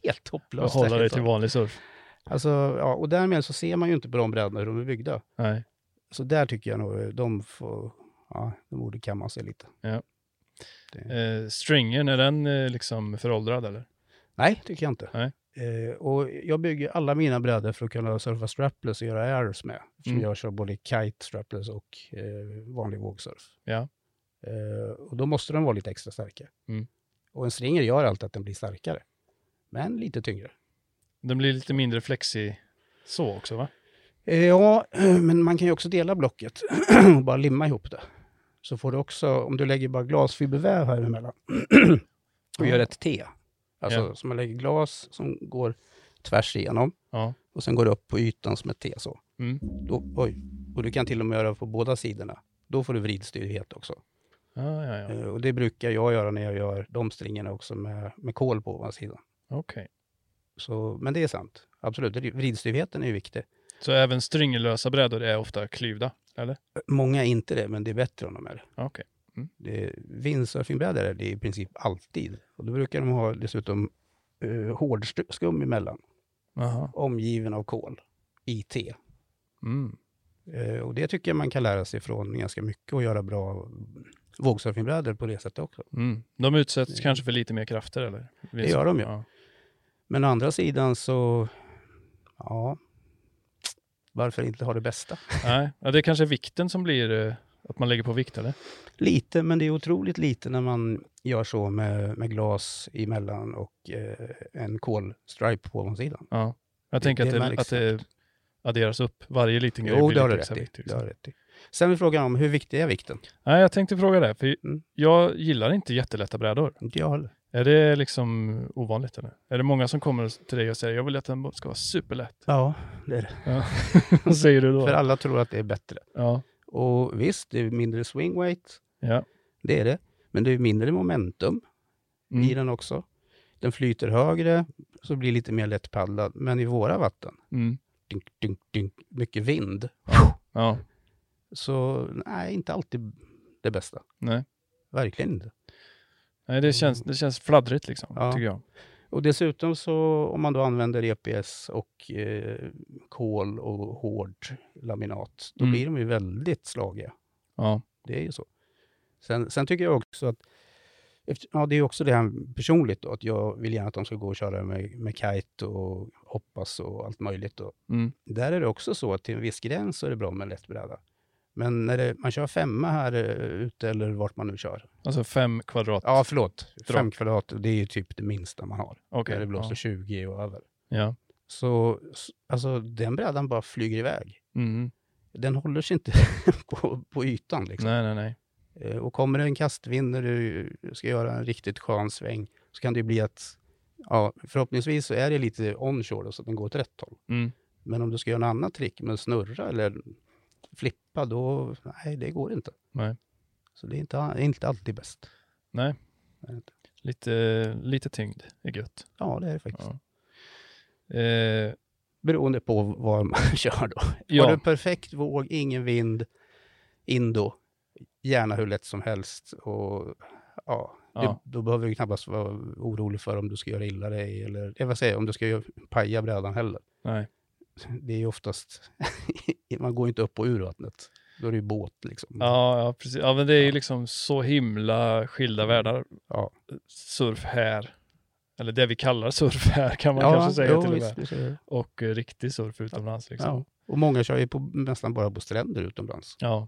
S2: Helt
S1: Och
S2: hopplöst.
S1: hålla dig
S2: därifrån.
S1: till vanlig surf.
S2: Alltså, ja, och därmed så ser man ju inte på de brädorna hur de är byggda.
S1: Nej.
S2: Så där tycker jag nog eh, de får, ja, de borde kamma sig lite.
S1: Eh, stringen, är den eh, liksom föråldrad eller?
S2: Nej, tycker jag inte.
S1: Nej.
S2: Eh, och jag bygger alla mina brädor för att kunna surfa strapless och göra airs med. Eftersom
S1: Mm.
S2: jag kör både kite, strapless och eh, vanlig vågsurf.
S1: Ja.
S2: Eh, och då måste de vara lite extra starka.
S1: Mm.
S2: Och en stringer gör alltid att den blir starkare. Men lite tyngre.
S1: Den blir lite mindre flexig så också va?
S2: Eh, ja, men man kan ju också dela blocket och bara limma ihop det. Så får du också, om du lägger bara glasfiberväv här emellan och gör ett T. Alltså,
S1: Ja.
S2: så man lägger glas som går tvärs igenom.
S1: Ja.
S2: och sen går det upp på ytan som ett T så.
S1: Mm.
S2: Då, oj. Och du kan till och med göra på båda sidorna. Då får du vridstyrhet också.
S1: Ah, ja, ja.
S2: Eh, och det brukar jag göra när jag gör de stringarna också med, med kol på ovansidan.
S1: Okej.
S2: Så, men det är sant. Absolut, Vrid- vridstyrheten är ju viktig.
S1: Så även stringlösa brädor är ofta klyvda, eller?
S2: Många är inte det, men det är bättre om de är det.
S1: Okej.
S2: det. Windsurfingbrädor är det i princip alltid. Och då brukar de ha dessutom uh, hårdskum emellan,
S1: Jaha.
S2: omgiven av kol, IT.
S1: Mm.
S2: Eh, Och det tycker jag man kan lära sig från ganska mycket och göra bra mm, vågsurfingbrädor på det sättet också.
S1: Mm. De utsätts
S2: Det-
S1: kanske för lite mer krafter, eller?
S2: Det gör de ju.
S1: Ja.
S2: Men å andra sidan så, ja, varför inte ha det bästa?
S1: Nej, ja, det är kanske vikten som blir eh, att man lägger på vikt eller?
S2: Lite, men det är otroligt lite när man gör så med, med glas emellan och eh, en kolstripe på ovansidan.
S1: Ja. Jag
S2: Det-
S1: tänker
S2: det
S1: att, det,
S2: märks
S1: att det adderas upp. Varje liten grej
S2: Jo,
S1: blir
S2: det har du
S1: lite
S2: rätt
S1: extra viktig.
S2: i. Det
S1: Liksom.
S2: har du rätt i. Sen är frågan om hur viktig är vikten?
S1: Nej, jag tänkte fråga det, för
S2: Mm.
S1: jag gillar inte jättelätta brädor.
S2: Inte jag heller.
S1: Är det liksom ovanligt eller? Är det många som kommer till dig och säger jag vill att den ska vara superlätt?
S2: Ja, det är det.
S1: Vad säger du
S2: För
S1: då?
S2: alla tror att det är bättre.
S1: Ja,
S2: Och visst, det är mindre swingweight.
S1: ja.
S2: Det är det. Men det är mindre momentum i
S1: Mm.
S2: den också. Den flyter högre, så blir lite mer lättpaddlad. Men i våra vatten,
S1: Mm.
S2: dunk, dunk, dunk, mycket vind.
S1: ja.
S2: Så nej, inte alltid det bästa.
S1: Nej.
S2: Verkligen inte.
S1: Nej, det känns, det känns fladdrigt liksom,
S2: Ja.
S1: tycker jag.
S2: Och dessutom så om man då använder EPS och eh, kol och hård laminat, då
S1: Mm.
S2: blir de ju väldigt slagiga.
S1: Ja.
S2: Det är ju så. Sen, sen tycker jag också att, efter, ja det är ju också det här personligt då, att jag vill gärna att de ska gå och köra med, med kite och hoppas och allt möjligt. Då.
S1: Mm.
S2: Där är det också så att till en viss gräns så är det bra med en lätt bräda. Men när det, man kör femma här eh, ute eller vart man nu kör.
S1: Alltså fem kvadrat.
S2: Ja, förlåt.
S1: Drak.
S2: Fem kvadrat, det är ju typ det minsta man har.
S1: Okej.
S2: när det blåser
S1: ja.
S2: 20 och över.
S1: ja.
S2: Så s- alltså, den brädan bara flyger iväg.
S1: Mm.
S2: Den håller sig inte på, på ytan. Liksom.
S1: Nej, nej, nej.
S2: Eh, Och kommer det en kastvind när du ska göra en riktigt skön sväng så kan det ju bli att ja, förhoppningsvis så är det lite onshore då, så att den går åt rätt håll.
S1: Mm.
S2: Men om du ska göra något annat trick med att snurra eller flippa, då nej, det går inte.
S1: Nej.
S2: Så det är inte, inte alltid bäst.
S1: Nej.
S2: Det är det inte.
S1: Lite, lite tyngd är gött.
S2: Ja, det är det faktiskt.
S1: Ja. Eh,
S2: Beroende på vad man kör då. Har
S1: ja.
S2: du perfekt våg, ingen vind, indo, gärna hur lätt som helst. Och, ja,
S1: Ja.
S2: Du, då behöver du knappast vara orolig för om du ska göra illa dig eller eh, vad säger jag, om du ska göra, paja brädan heller.
S1: Nej.
S2: Det är ju oftast, man går ju inte upp och ur vattnet. Då är det ju båt liksom.
S1: Ja, ja, precis. Ja, men det är ju liksom så himla skilda världar.
S2: Ja.
S1: Surf här, eller det vi kallar surf här kan man kanske säga
S2: jo,
S1: till och
S2: visst,
S1: med.
S2: visst är det.
S1: Och eh, riktig surf utomlands liksom.
S2: ja. Och många kör ju på, nästan bara på stränder utomlands.
S1: Ja,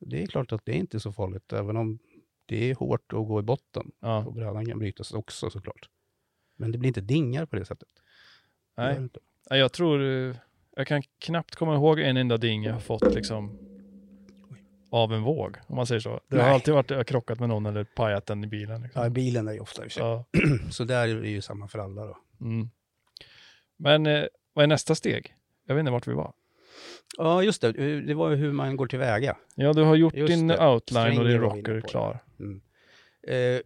S2: Det är klart att det är inte så farligt, även om det är hårt att gå i botten.
S1: ja.
S2: Och brädan kan brytas också såklart. Men det blir inte dingar på det sättet.
S1: Nej.
S2: Det är inte.
S1: Nej, Jag tror, eh, jag kan knappt komma ihåg en enda ding jag har fått liksom av en våg, om man säger så. Det har
S2: Nej.
S1: alltid varit, jag har krockat med någon eller pajat den i bilen. Liksom.
S2: Ja, bilen är ju ofta i och för sig.
S1: Ja.
S2: Så där är det ju samma för alla då.
S1: Mm. Men eh, vad är nästa steg? Jag vet inte vart vi var.
S2: Ja, just det. Det var ju hur man går tillväga.
S1: Ja, du har gjort
S2: Just
S1: din
S2: det.
S1: outline och
S2: Stringer
S1: din
S2: var vi inne
S1: rocker
S2: på, ja.
S1: klar.
S2: Mm. Eh,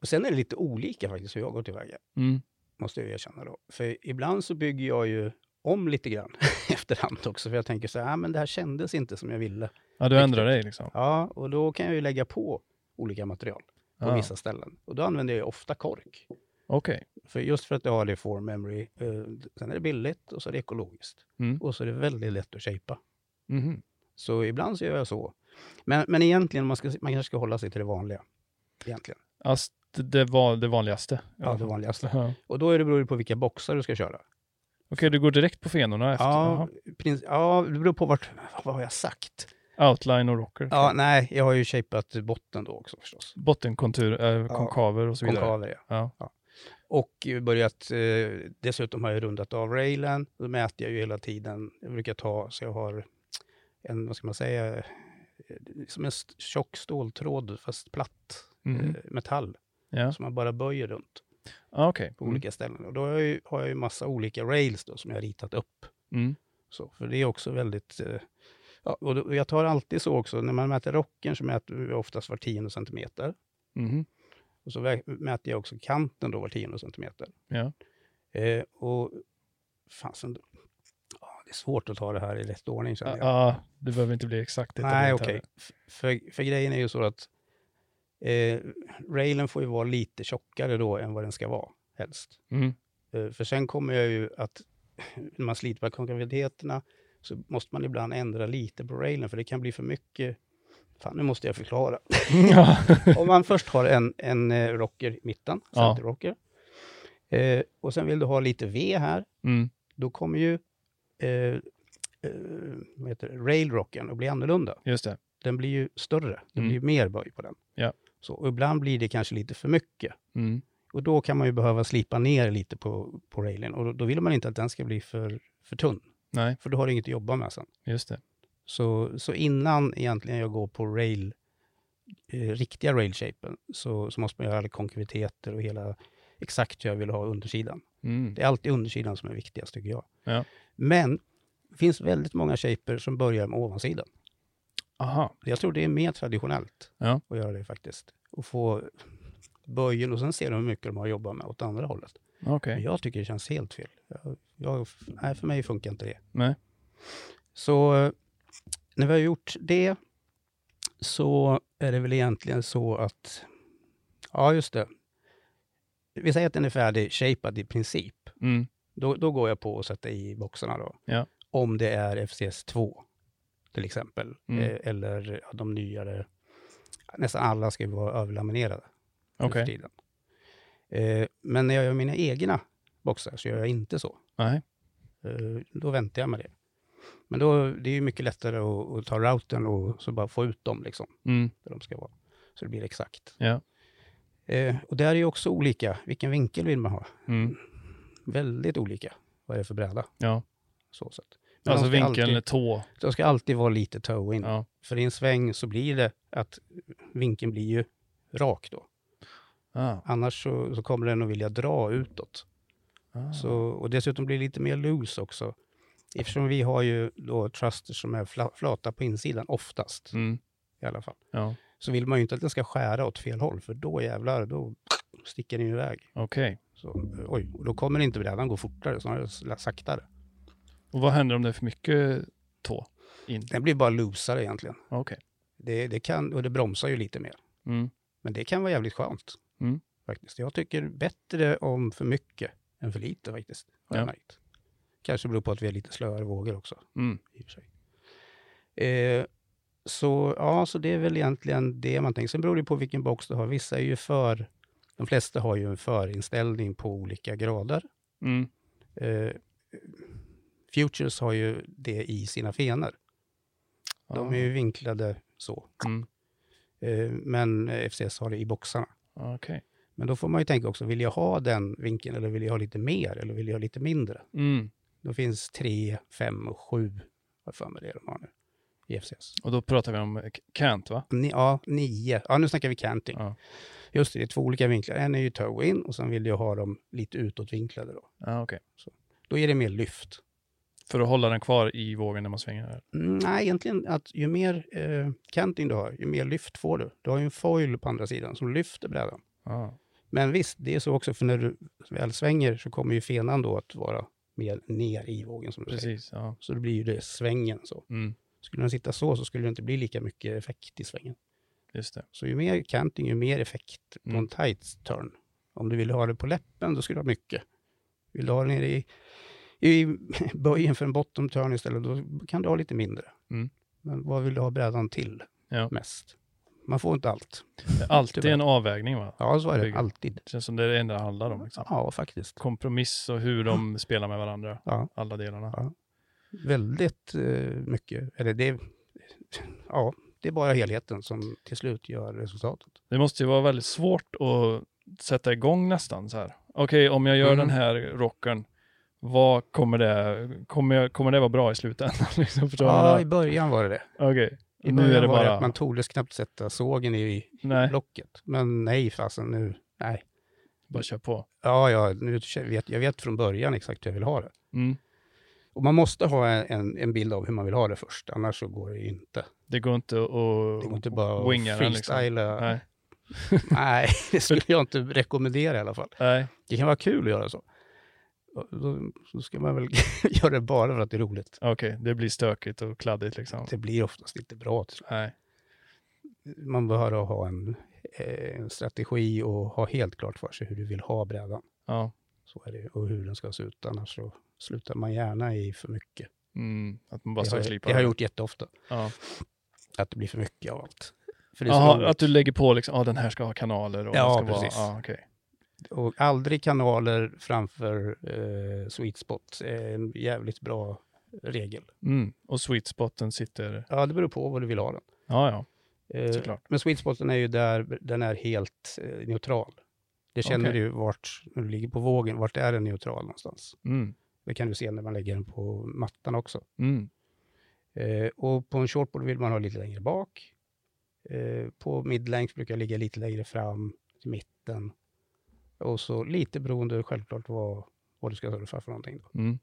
S2: och sen är det lite olika faktiskt hur jag går tillväga,
S1: Mm.
S2: måste jag erkänna då. För ibland så bygger jag ju om lite grann efterhand också, för jag tänker så här, ah, men det här kändes inte som jag ville.
S1: Ja, du
S2: Riktigt.
S1: ändrar dig liksom.
S2: Ja, och då kan jag ju lägga på olika material på
S1: Ja.
S2: vissa ställen. Och då använder jag ju ofta kork.
S1: Ah, Okej.
S2: För just för att det har det form memory. Eh, sen är det billigt och så är det ekologiskt.
S1: Mm.
S2: Och så är det väldigt lätt att shapea.
S1: Mhm.
S2: Så ibland så gör jag så. Men, men egentligen, man, ska, man kanske ska hålla sig till det vanliga. Egentligen.
S1: Alltså, det- det var det vanligaste. i
S2: Ja,
S1: alla
S2: det
S1: fall.
S2: vanligaste.
S1: Ja. Okej,
S2: Och då är det beroende på vilka boxar du ska köra.
S1: du går direkt på fenorna efter.
S2: Ja,
S1: Ja.
S2: prins, ja, det beror på vart... Vad har jag sagt?
S1: Outline och rocker.
S2: Ja, nej, jag har ju shapat botten då också förstås.
S1: Bottenkontur, eh,
S2: Ja.
S1: konkaver och så vidare.
S2: Konkaver, ja.
S1: Ja.
S2: Och börjat... Eh, dessutom har jag rundat av railen. Då mäter jag ju hela tiden. Jag brukar ta, så jag har en, vad ska man säga, eh, som en st- tjock ståltråd, fast platt
S1: Mhm.
S2: eh, metall,
S1: Ja.
S2: som man bara böjer runt.
S1: Ah, Okej.
S2: på olika ställen. Och då har jag, ju, har jag ju massa olika rails då, som jag har ritat upp.
S1: Mm. Mm.
S2: Så, för det är också väldigt... Eh, ja, och, då, och jag tar alltid så också, när man mäter rocken så mäter vi oftast var tionde centimeter.
S1: Mhm.
S2: Och så vä- mäter jag också kanten då var tionde centimeter.
S1: Ja.
S2: Eh, och fasen, ja, det är svårt att ta det här i rätt ordning känner jag.
S1: Ah, ah, det behöver inte bli exakt.
S2: Nej,
S1: detaljerat
S2: okej.
S1: heller.
S2: F- För, för grejen är ju så att eh, railen får ju vara lite tjockare då än vad den ska vara, helst.
S1: Mm.
S2: Eh, För sen kommer jag ju att, när man sliter på konkaviteterna, så måste man ibland ändra lite på railen, för det kan bli för mycket. Fan, nu måste jag förklara.
S1: Ja.
S2: Om man först har en, en eh, rocker i mitten,
S1: Ja.
S2: centerrocker, eh, och sen vill du ha lite V här,
S1: Mm.
S2: då kommer ju eh, eh, vad heter det, railrocken att bli annorlunda.
S1: Just det.
S2: Den blir ju större, det
S1: Mm.
S2: blir ju mer böj på den.
S1: Ja.
S2: Så, och ibland blir det kanske lite för mycket.
S1: Mm.
S2: Och då kan man ju behöva slipa ner lite på, på railen. Och då, då vill man inte att den ska bli för, för tunn,
S1: Nej,
S2: för då har du inget att jobba med sen.
S1: just det.
S2: Så, så innan egentligen jag går på rail, eh, riktiga railshapen, så, så måste man göra alla konkaviteter och hela exakt hur jag vill ha undersidan.
S1: Mm.
S2: Det är alltid undersidan som är viktigast tycker jag.
S1: Ja.
S2: Men det finns väldigt många shaper som börjar med ovansidan.
S1: Aha,
S2: Jag tror det är mer traditionellt
S1: Ja.
S2: att göra det faktiskt. Och få böjen och sen ser de hur mycket de har jobbat med åt andra hållet.
S1: okej.
S2: Men jag tycker det känns helt fel. Jag, jag, nej, för mig funkar inte det.
S1: Nej.
S2: Så eh, när vi har gjort det så är det väl egentligen så att, ja just det. Vi säger att den är färdig shapad i princip.
S1: Mm.
S2: Då, då går jag på att sätta i boxarna då.
S1: Ja.
S2: Om det är FCS 2 till exempel,
S1: Mm.
S2: eh, eller ja, de nyare. Nästan alla ska ju vara överlaminerade nu
S1: Okej.
S2: för tiden. Eh, men när jag gör mina egna boxar så gör jag inte så.
S1: Nej.
S2: Eh, då väntar jag med det. Men då, det är ju mycket lättare att, att ta routern och så bara få ut dem liksom,
S1: Mm.
S2: där de ska vara. Så det blir exakt.
S1: Ja.
S2: Eh, och där är ju också olika, vilken vinkel vill man ha?
S1: Mm.
S2: Väldigt olika. Vad är det för bräda?
S1: Ja.
S2: Så sätt. Men
S1: Alltså
S2: de ska
S1: vinkeln är
S2: Alltid, Mm.
S1: tå.
S2: de ska alltid vara lite toe-in.
S1: Ja.
S2: För i en sväng så blir det att vinkeln blir ju rak då.
S1: Ah.
S2: Annars så, så kommer den att vilja dra utåt.
S1: Ah.
S2: Så, och dessutom blir det lite mer loose också. Eftersom vi har ju då trusters som är fla, flata på insidan oftast
S1: Mm.
S2: i alla fall.
S1: Ja,
S2: Så vill man ju inte att den ska skära åt fel håll för då jävlar, då sticker den ju iväg.
S1: okej.
S2: Så, oj, och då kommer inte brädan gå fortare, snarare s- saktare.
S1: Och vad händer om det är för mycket tå? In?
S2: Den blir bara loosare egentligen.
S1: Okej.
S2: Det, det kan, och det bromsar ju lite mer.
S1: Mm.
S2: Men det kan vara jävligt skönt.
S1: Mm.
S2: Faktiskt. Jag tycker bättre om för mycket än för lite faktiskt. Har
S1: Ja.
S2: jag märkt. Kanske beror på att vi är lite slöare vågor också.
S1: Mm.
S2: I och för sig. Eh, så, ja, så det är väl egentligen det man tänker. Sen beror det på vilken box du har. Vissa är ju för... De flesta har ju en förinställning på olika grader.
S1: Mm.
S2: Eh, Futures har ju det i sina fenor. De är ju vinklade så.
S1: Ah, Mm.
S2: Eh, men eh, FCS har det i boxarna.
S1: Okej.
S2: Men då får man ju tänka också, vill jag ha den vinkeln eller vill jag ha lite mer eller vill jag ha lite mindre?
S1: Mm.
S2: Då finns 3, 5 och 7, vad fan är det de har nu, i FCS.
S1: Och då pratar vi om eh, cant, va?
S2: Ni, ja, 9. Ja, nu snackar vi canting.
S1: Ja.
S2: Just det, det är två olika vinklar. En är ju toe-in och sen vill jag ha dem lite utåtvinklade då.
S1: Ah, okej.
S2: Då är det mer lyft.
S1: För att hålla den kvar i vågen när man svänger?
S2: Mm, nej, egentligen att ju mer eh, canting du har, ju mer lyft får du. Du har ju en foil på andra sidan som lyfter brädan.
S1: Ah.
S2: Men visst, det är så också, för när du väl svänger så kommer ju fenan då att vara mer ner i vågen som du säger.
S1: Precis. Ja.
S2: Så det blir ju det svängen så.
S1: Mm.
S2: Skulle den sitta så så skulle det inte bli lika mycket effekt i svängen.
S1: Just det.
S2: Så ju mer canting, ju mer effekt på
S1: Mm.
S2: en tight turn. Om du vill ha det på läppen, då skulle du ha mycket. Vill du ha det nere i, i böjen för en bottom turn istället, då kan du ha lite mindre.
S1: Mm.
S2: Men vad vill du ha brädan till
S1: Ja.
S2: mest? Man får inte allt.
S1: Det är alltid
S2: Tyvärr.
S1: en avvägning, va?
S2: Ja, så är det
S1: Bygger.
S2: alltid.
S1: Det känns som det är det enda det handlar om. Liksom.
S2: Ja, faktiskt.
S1: Kompromiss och hur de spelar med varandra.
S2: Ja.
S1: Alla delarna.
S2: Väldigt eh, mycket. Eller det, ja, det är bara helheten som till slut gör resultatet.
S1: Det måste ju vara väldigt svårt att sätta igång nästan så här. Okej, om jag gör
S2: Mm.
S1: den här rocken, vad kommer det, kommer, jag, kommer det vara bra i slutändan? liksom, förstår du vad jag
S2: Ja, i
S1: menar?
S2: början var det det.
S1: Okej,
S2: I
S1: nu är det
S2: var
S1: bara... Eh.
S2: att man tordes knappt sätta sågen i
S1: Nej,
S2: blocket. Men nej, fasen nu. Nej.
S1: bara kör på.
S2: Ja, ja, nu vet, jag vet från början exakt hur jag vill ha det.
S1: Mm.
S2: Och man måste ha en, en bild av hur man vill ha det först, annars så går det ju inte.
S1: Det går inte att
S2: Det går inte bara
S1: winga
S2: att
S1: den liksom.
S2: freestyla. Nej.
S1: Nej.
S2: det skulle jag inte rekommendera i alla fall.
S1: Nej,
S2: Det kan vara kul att göra så. Och Då, så ska man väl göra det bara för att det är roligt.
S1: okej, det blir stökigt och kladdigt liksom.
S2: Det blir oftast inte bra. till slut.
S1: Nej,
S2: Man behöver ha en, eh, en strategi och ha helt klart för sig hur du vill ha brädan.
S1: ja.
S2: Så är det ju. Och hur den ska se ut. Annars så slutar man gärna i för mycket.
S1: Mm. Att man bara
S2: det,
S1: står
S2: har,
S1: och
S2: jag-
S1: slipar.
S2: det har jag gjort jätteofta.
S1: Ja.
S2: Att det blir för mycket av allt. För det är så
S1: Jaha,
S2: roligt.
S1: att du lägger på liksom, ah, den här ska ha kanaler och
S2: Ja,
S1: den ska
S2: precis.
S1: vara... Ja, okej.
S2: Och aldrig kanaler framför eh, sweet spot. är en jävligt bra regel.
S1: Mm. Och sweet spoten sitter...
S2: Ja, det beror på vad du vill ha den.
S1: Ja, ja.
S2: Eh,
S1: Såklart.
S2: Men sweet spoten är ju där den är helt eh, neutral. Det känner
S1: Okej.
S2: du vart, när du ligger på vågen, vart är den neutral någonstans?
S1: Mm.
S2: Det kan du se när man lägger den på mattan också.
S1: Mm.
S2: Eh, och på en shortboard vill man ha lite längre bak. Eh, på midlength brukar jag ligga lite längre fram, till mitten. Och så lite beroende självklart vad, vad du ska surfa för någonting. Då.
S1: Mm.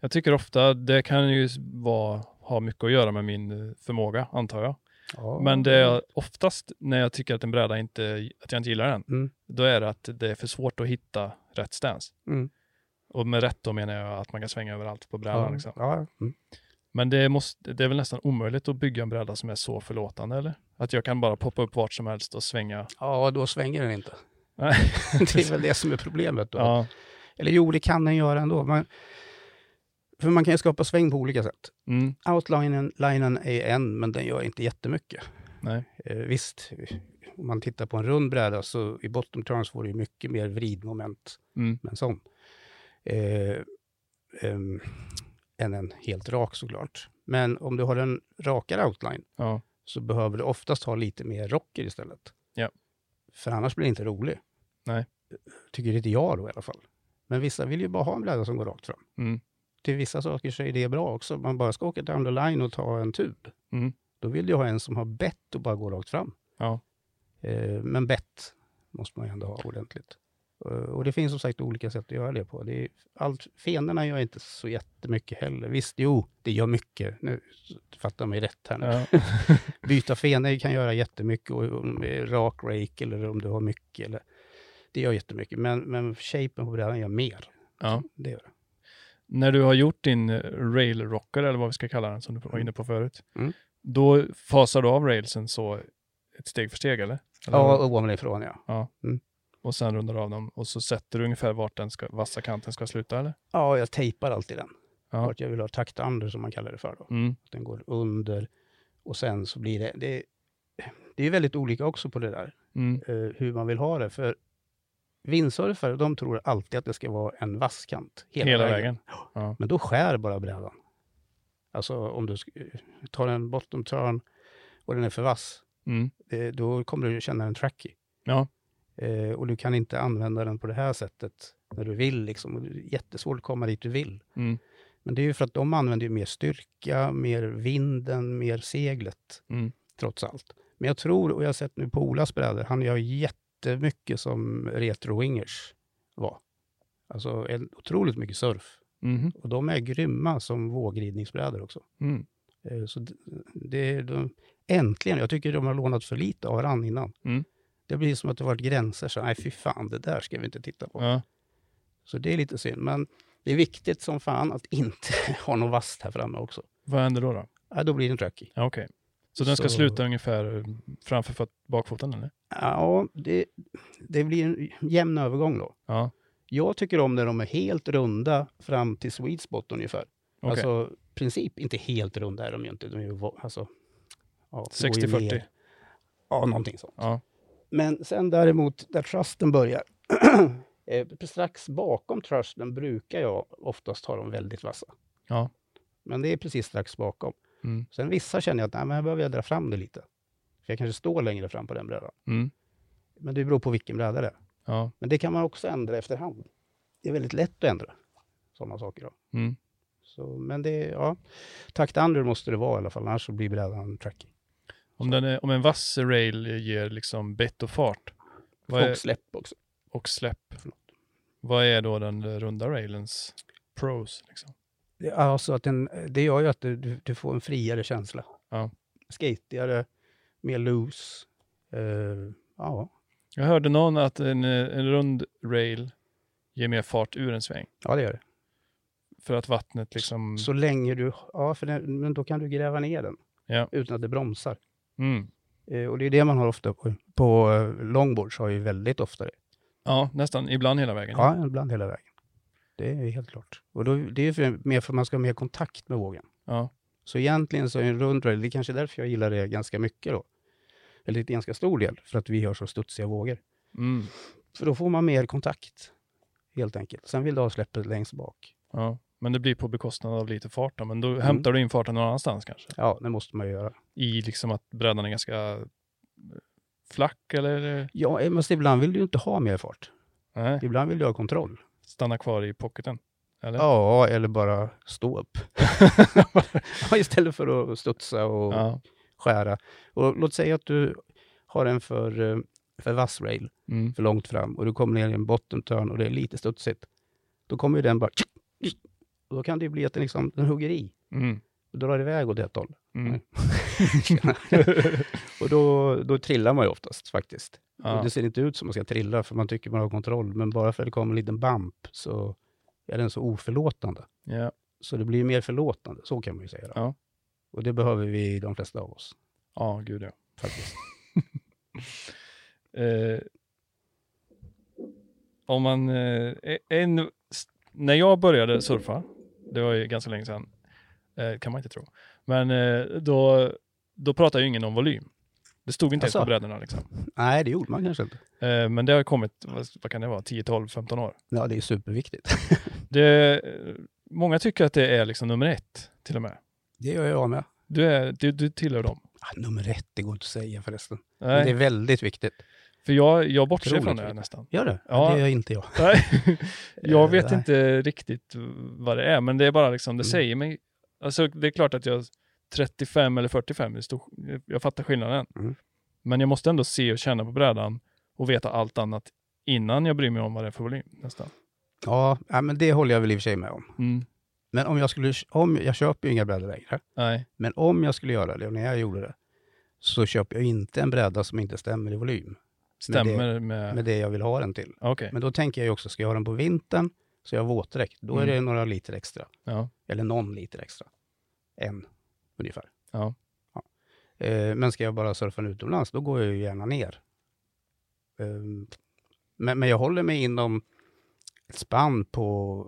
S1: Jag tycker ofta det kan ju vara, ha mycket att göra med min eh, förmåga, antar jag.
S2: Ja,
S1: Men det är oftast när jag tycker att en bräda inte, att jag inte gillar den,
S2: Mm.
S1: då är det att det är för svårt att hitta rätt stance.
S2: Mm.
S1: Och med rätt då menar jag att man kan svänga överallt på brädan.
S2: Ja,
S1: Liksom.
S2: ja, mm.
S1: Men det, måste, det är väl nästan omöjligt att bygga en bräda som är så förlåtande, eller? Att jag kan bara poppa upp vart som helst och svänga.
S2: ja, då svänger den inte.
S1: Nej.
S2: det är väl det som är problemet. Då.
S1: Ja.
S2: Eller jo, det kan den göra ändå. Men, för man kan ju skapa sväng på olika sätt.
S1: Mm.
S2: Outlinen linen är en, men den gör inte jättemycket.
S1: Nej.
S2: Eh, visst, om man tittar på en rund bräda så i bottom turns får du ju mycket mer vridmoment
S1: Mm.
S2: med en sån. Eh, ehm, än en helt rak såklart. Men om du har en rakare outline
S1: Ja.
S2: så behöver du oftast ha lite mer rocker istället.
S1: Ja.
S2: För annars blir det inte rolig.
S1: Nej.
S2: Tycker inte jag då i alla fall. Men vissa vill ju bara ha en bräda som går rakt fram.
S1: Mm.
S2: Till vissa saker så är det bra också. Om Man bara ska åka down the line och ta en tub.
S1: Mm.
S2: Då vill du ha en som har bett och bara går rakt fram.
S1: Ja.
S2: Eh, men bett måste man ju ändå ha ordentligt. Eh, och det finns som sagt olika sätt att göra det på. Det är allt, fenorna gör inte så jättemycket heller. Visst, jo, det gör mycket. Nu fattar mig rätt här nu.
S1: Ja.
S2: Byta fenor kan göra jättemycket, och om det är rak rake eller om du har mycket. Eller, det gör jättemycket, men, men shapen på brädan gör mer.
S1: ja.
S2: Det gör det.
S1: När du har gjort din eh, rail rocker, eller vad vi ska kalla den, som du var inne på förut,
S2: Mm.
S1: då fasar du av railsen så ett steg för steg, eller? eller
S2: Ja, och ovanifrån ja.
S1: Och sen rundar du av dem och så sätter du ungefär vart den ska, vassa kanten ska sluta, eller?
S2: Ja, jag tejpar alltid den.
S1: Ja.
S2: Vart jag vill ha taktander som man kallar det för. Då.
S1: Mm.
S2: Den går under och sen så blir det... Det, det är väldigt olika också på det där,
S1: Mm.
S2: eh, hur man vill ha det. För vindsurfare, de tror alltid att det ska vara en vass kant
S1: Hela, vägen.
S2: Men då skär bara brädan. Alltså om du sk- tar en bottom turn och den är för vass,
S1: Mm.
S2: eh, då kommer du känna en tracky.
S1: Ja.
S2: Eh, och du kan inte använda den på det här sättet när du vill. Liksom. Och det är jättesvårt att komma dit du vill.
S1: Mm.
S2: Men det är ju för att de använder ju mer styrka, mer vinden, mer seglet,
S1: Mm.
S2: trots allt. Men jag tror, och jag har sett nu på Olas brädor, han gör jättemycket som retro-wingers var. Alltså en, otroligt mycket surf.
S1: Mhm.
S2: Och de är grymma som vågridningsbrädor också.
S1: Mm.
S2: Eh, Så d- det, de, äntligen, jag tycker de har lånat för lite av varandra innan.
S1: Mm.
S2: Det blir som att det varit gränser, så nej fy fan, det där ska vi inte titta på.
S1: Ja.
S2: Så det är lite synd, men det är viktigt som fan att inte ha något vasst här framme också.
S1: Vad händer då? då?
S2: Ja, då blir den tracky.
S1: Ja, Okej. Så den ska
S2: Så-
S1: sluta ungefär eh, framför fot, bakfoten, eller?
S2: Ja, det, det blir en jämn övergång då.
S1: Ja.
S2: Jag tycker om när de är helt runda fram till sweet spot ungefär.
S1: Okej.
S2: Alltså princip, inte helt runda är de ju inte. De är ju, va- alltså, ja, det går ju
S1: 60-40.
S2: ner. Ja, någonting sånt.
S1: Ja.
S2: Men sen däremot, där trusten börjar, eh, strax bakom trusten brukar jag oftast ha dem väldigt vassa.
S1: Ja.
S2: Men det är precis strax bakom.
S1: Mm.
S2: Sen vissa känner jag att nej, men här behöver jag dra fram det lite. För jag kanske står längre fram på den brädan.
S1: Mm.
S2: Men det beror på vilken bräda det är.
S1: Ja.
S2: Men det kan man också ändra efterhand. Det är väldigt lätt att ändra sådana saker. Då.
S1: Mm.
S2: Så, men det, ja. Taktandra måste det vara i alla fall, annars så blir brädan tracky.
S1: Om, den är, om en vass rail ger liksom bett och fart vad är,
S2: Och släpp också.
S1: och släpp,
S2: Förlåt.
S1: vad är då den runda railens pros? Liksom?
S2: Det, alltså att den, det gör ju att du, du, du får en friare känsla.
S1: Ja.
S2: Skatigare, mer loose. Eh, ja.
S1: Jag hörde någon att en, eh, en rund rail ger mer fart ur en sväng
S2: ja, det gör det.
S1: för att vattnet liksom...
S2: Så länge du... Ja, för den, men då kan du gräva ner den
S1: Ja.
S2: utan att det bromsar.
S1: Mm.
S2: Eh, och det är det man har ofta på, på eh, longboards, har ju väldigt ofta det.
S1: Ja, nästan ibland hela vägen.
S2: Ja, ibland hela vägen. Det är helt klart. Och då, det är ju för, mer för att man ska ha mer kontakt med vågen.
S1: Ja.
S2: Så egentligen så är en rund rail, det är kanske är därför jag gillar det ganska mycket då. Eller till ganska stor del, för att vi har så studsiga vågor.
S1: Mm.
S2: För då får man mer kontakt, helt enkelt. Sen vill du ha släppet längst bak.
S1: ja. Men det blir på bekostnad av lite fart då. Men då
S2: Mm.
S1: hämtar du in farten någon annanstans kanske?
S2: Ja, det måste man ju göra.
S1: I liksom att brädan är ganska eh, flack eller?
S2: Ja, eh, men ibland vill du ju inte ha mer fart.
S1: Nej,
S2: Ibland vill du ha kontroll.
S1: stanna kvar i pocketen. Eller?
S2: Ja, eller bara stå upp. Ja, Istället för att studsa och
S1: ja.
S2: skära. Och låt säga att du har en för, eh, för vass rail,
S1: Mm.
S2: för långt fram, och du kommer ner i en bottenturn och det är lite studsigt. Då kommer ju den bara... Och då kan det ju bli att den, liksom, den hugger i
S1: Mm.
S2: och drar iväg åt ett håll.
S1: Mm.
S2: och då, då trillar man ju oftast faktiskt. Och
S1: Ja.
S2: det ser inte ut som man ska trilla, för man tycker man har kontroll, men bara för att det kommer en liten bump så är den så oförlåtande.
S1: Ja.
S2: Så det blir mer förlåtande, så kan man ju säga. Då.
S1: Ja.
S2: Och det behöver vi, de flesta av oss,
S1: ja, gud ja.
S2: faktiskt.
S1: Eh, om man, eh, en, s- när jag började surfa, det var ju ganska länge sedan, eh, kan man inte tro, men eh, då, då pratade ju ingen om volym. Det stod inte ens
S2: Asså?
S1: på brädorna. Liksom.
S2: Nej, det gjorde man kanske inte.
S1: Eh, men det har kommit, vad, vad kan det vara, 10, 12, 15 år.
S2: Ja, det är superviktigt.
S1: Det, eh, många tycker att det är liksom nummer ett till och med.
S2: Det gör jag med.
S1: Du, är, du, du tillhör dem.
S2: Ah, nummer ett, det går inte att säga förresten. Men det
S1: Nej,
S2: är väldigt viktigt.
S1: för jag, jag bortser
S2: Otroligt
S1: från det
S2: viktigt.
S1: nästan.
S2: Gör det?
S1: Ja.
S2: Det gör inte jag.
S1: Nej, jag
S2: Eh,
S1: vet
S2: nej.
S1: inte riktigt vad det är, men det är bara liksom, det
S2: Mm.
S1: säger mig. Alltså det är klart att jag 35 eller 45, det är stor, jag fattar skillnaden.
S2: Mm.
S1: Men jag måste ändå se och känna på brädan och veta allt annat innan jag bryr mig om vad det är för volym nästan.
S2: Ja, ja, men det håller jag väl i och för sig med om.
S1: Mm.
S2: Men om jag skulle, om, jag köper ju inga brädor längre.
S1: Nej,
S2: Men om jag skulle göra det, och när jag gjorde det, så köper jag inte en bräda som inte stämmer i volym
S1: stämmer med...
S2: med det jag vill ha den till.
S1: Okej,
S2: Men då tänker jag ju också, ska jag ha den på vintern så är jag våtdräkt. Då
S1: Mm.
S2: är det några liter extra.
S1: ja.
S2: Eller någon liter extra. En, ungefär.
S1: Ja.
S2: Ja. Eh, men ska jag bara surfa utomlands, då går jag ju gärna ner. Ehm, men, men jag håller mig inom ett spann på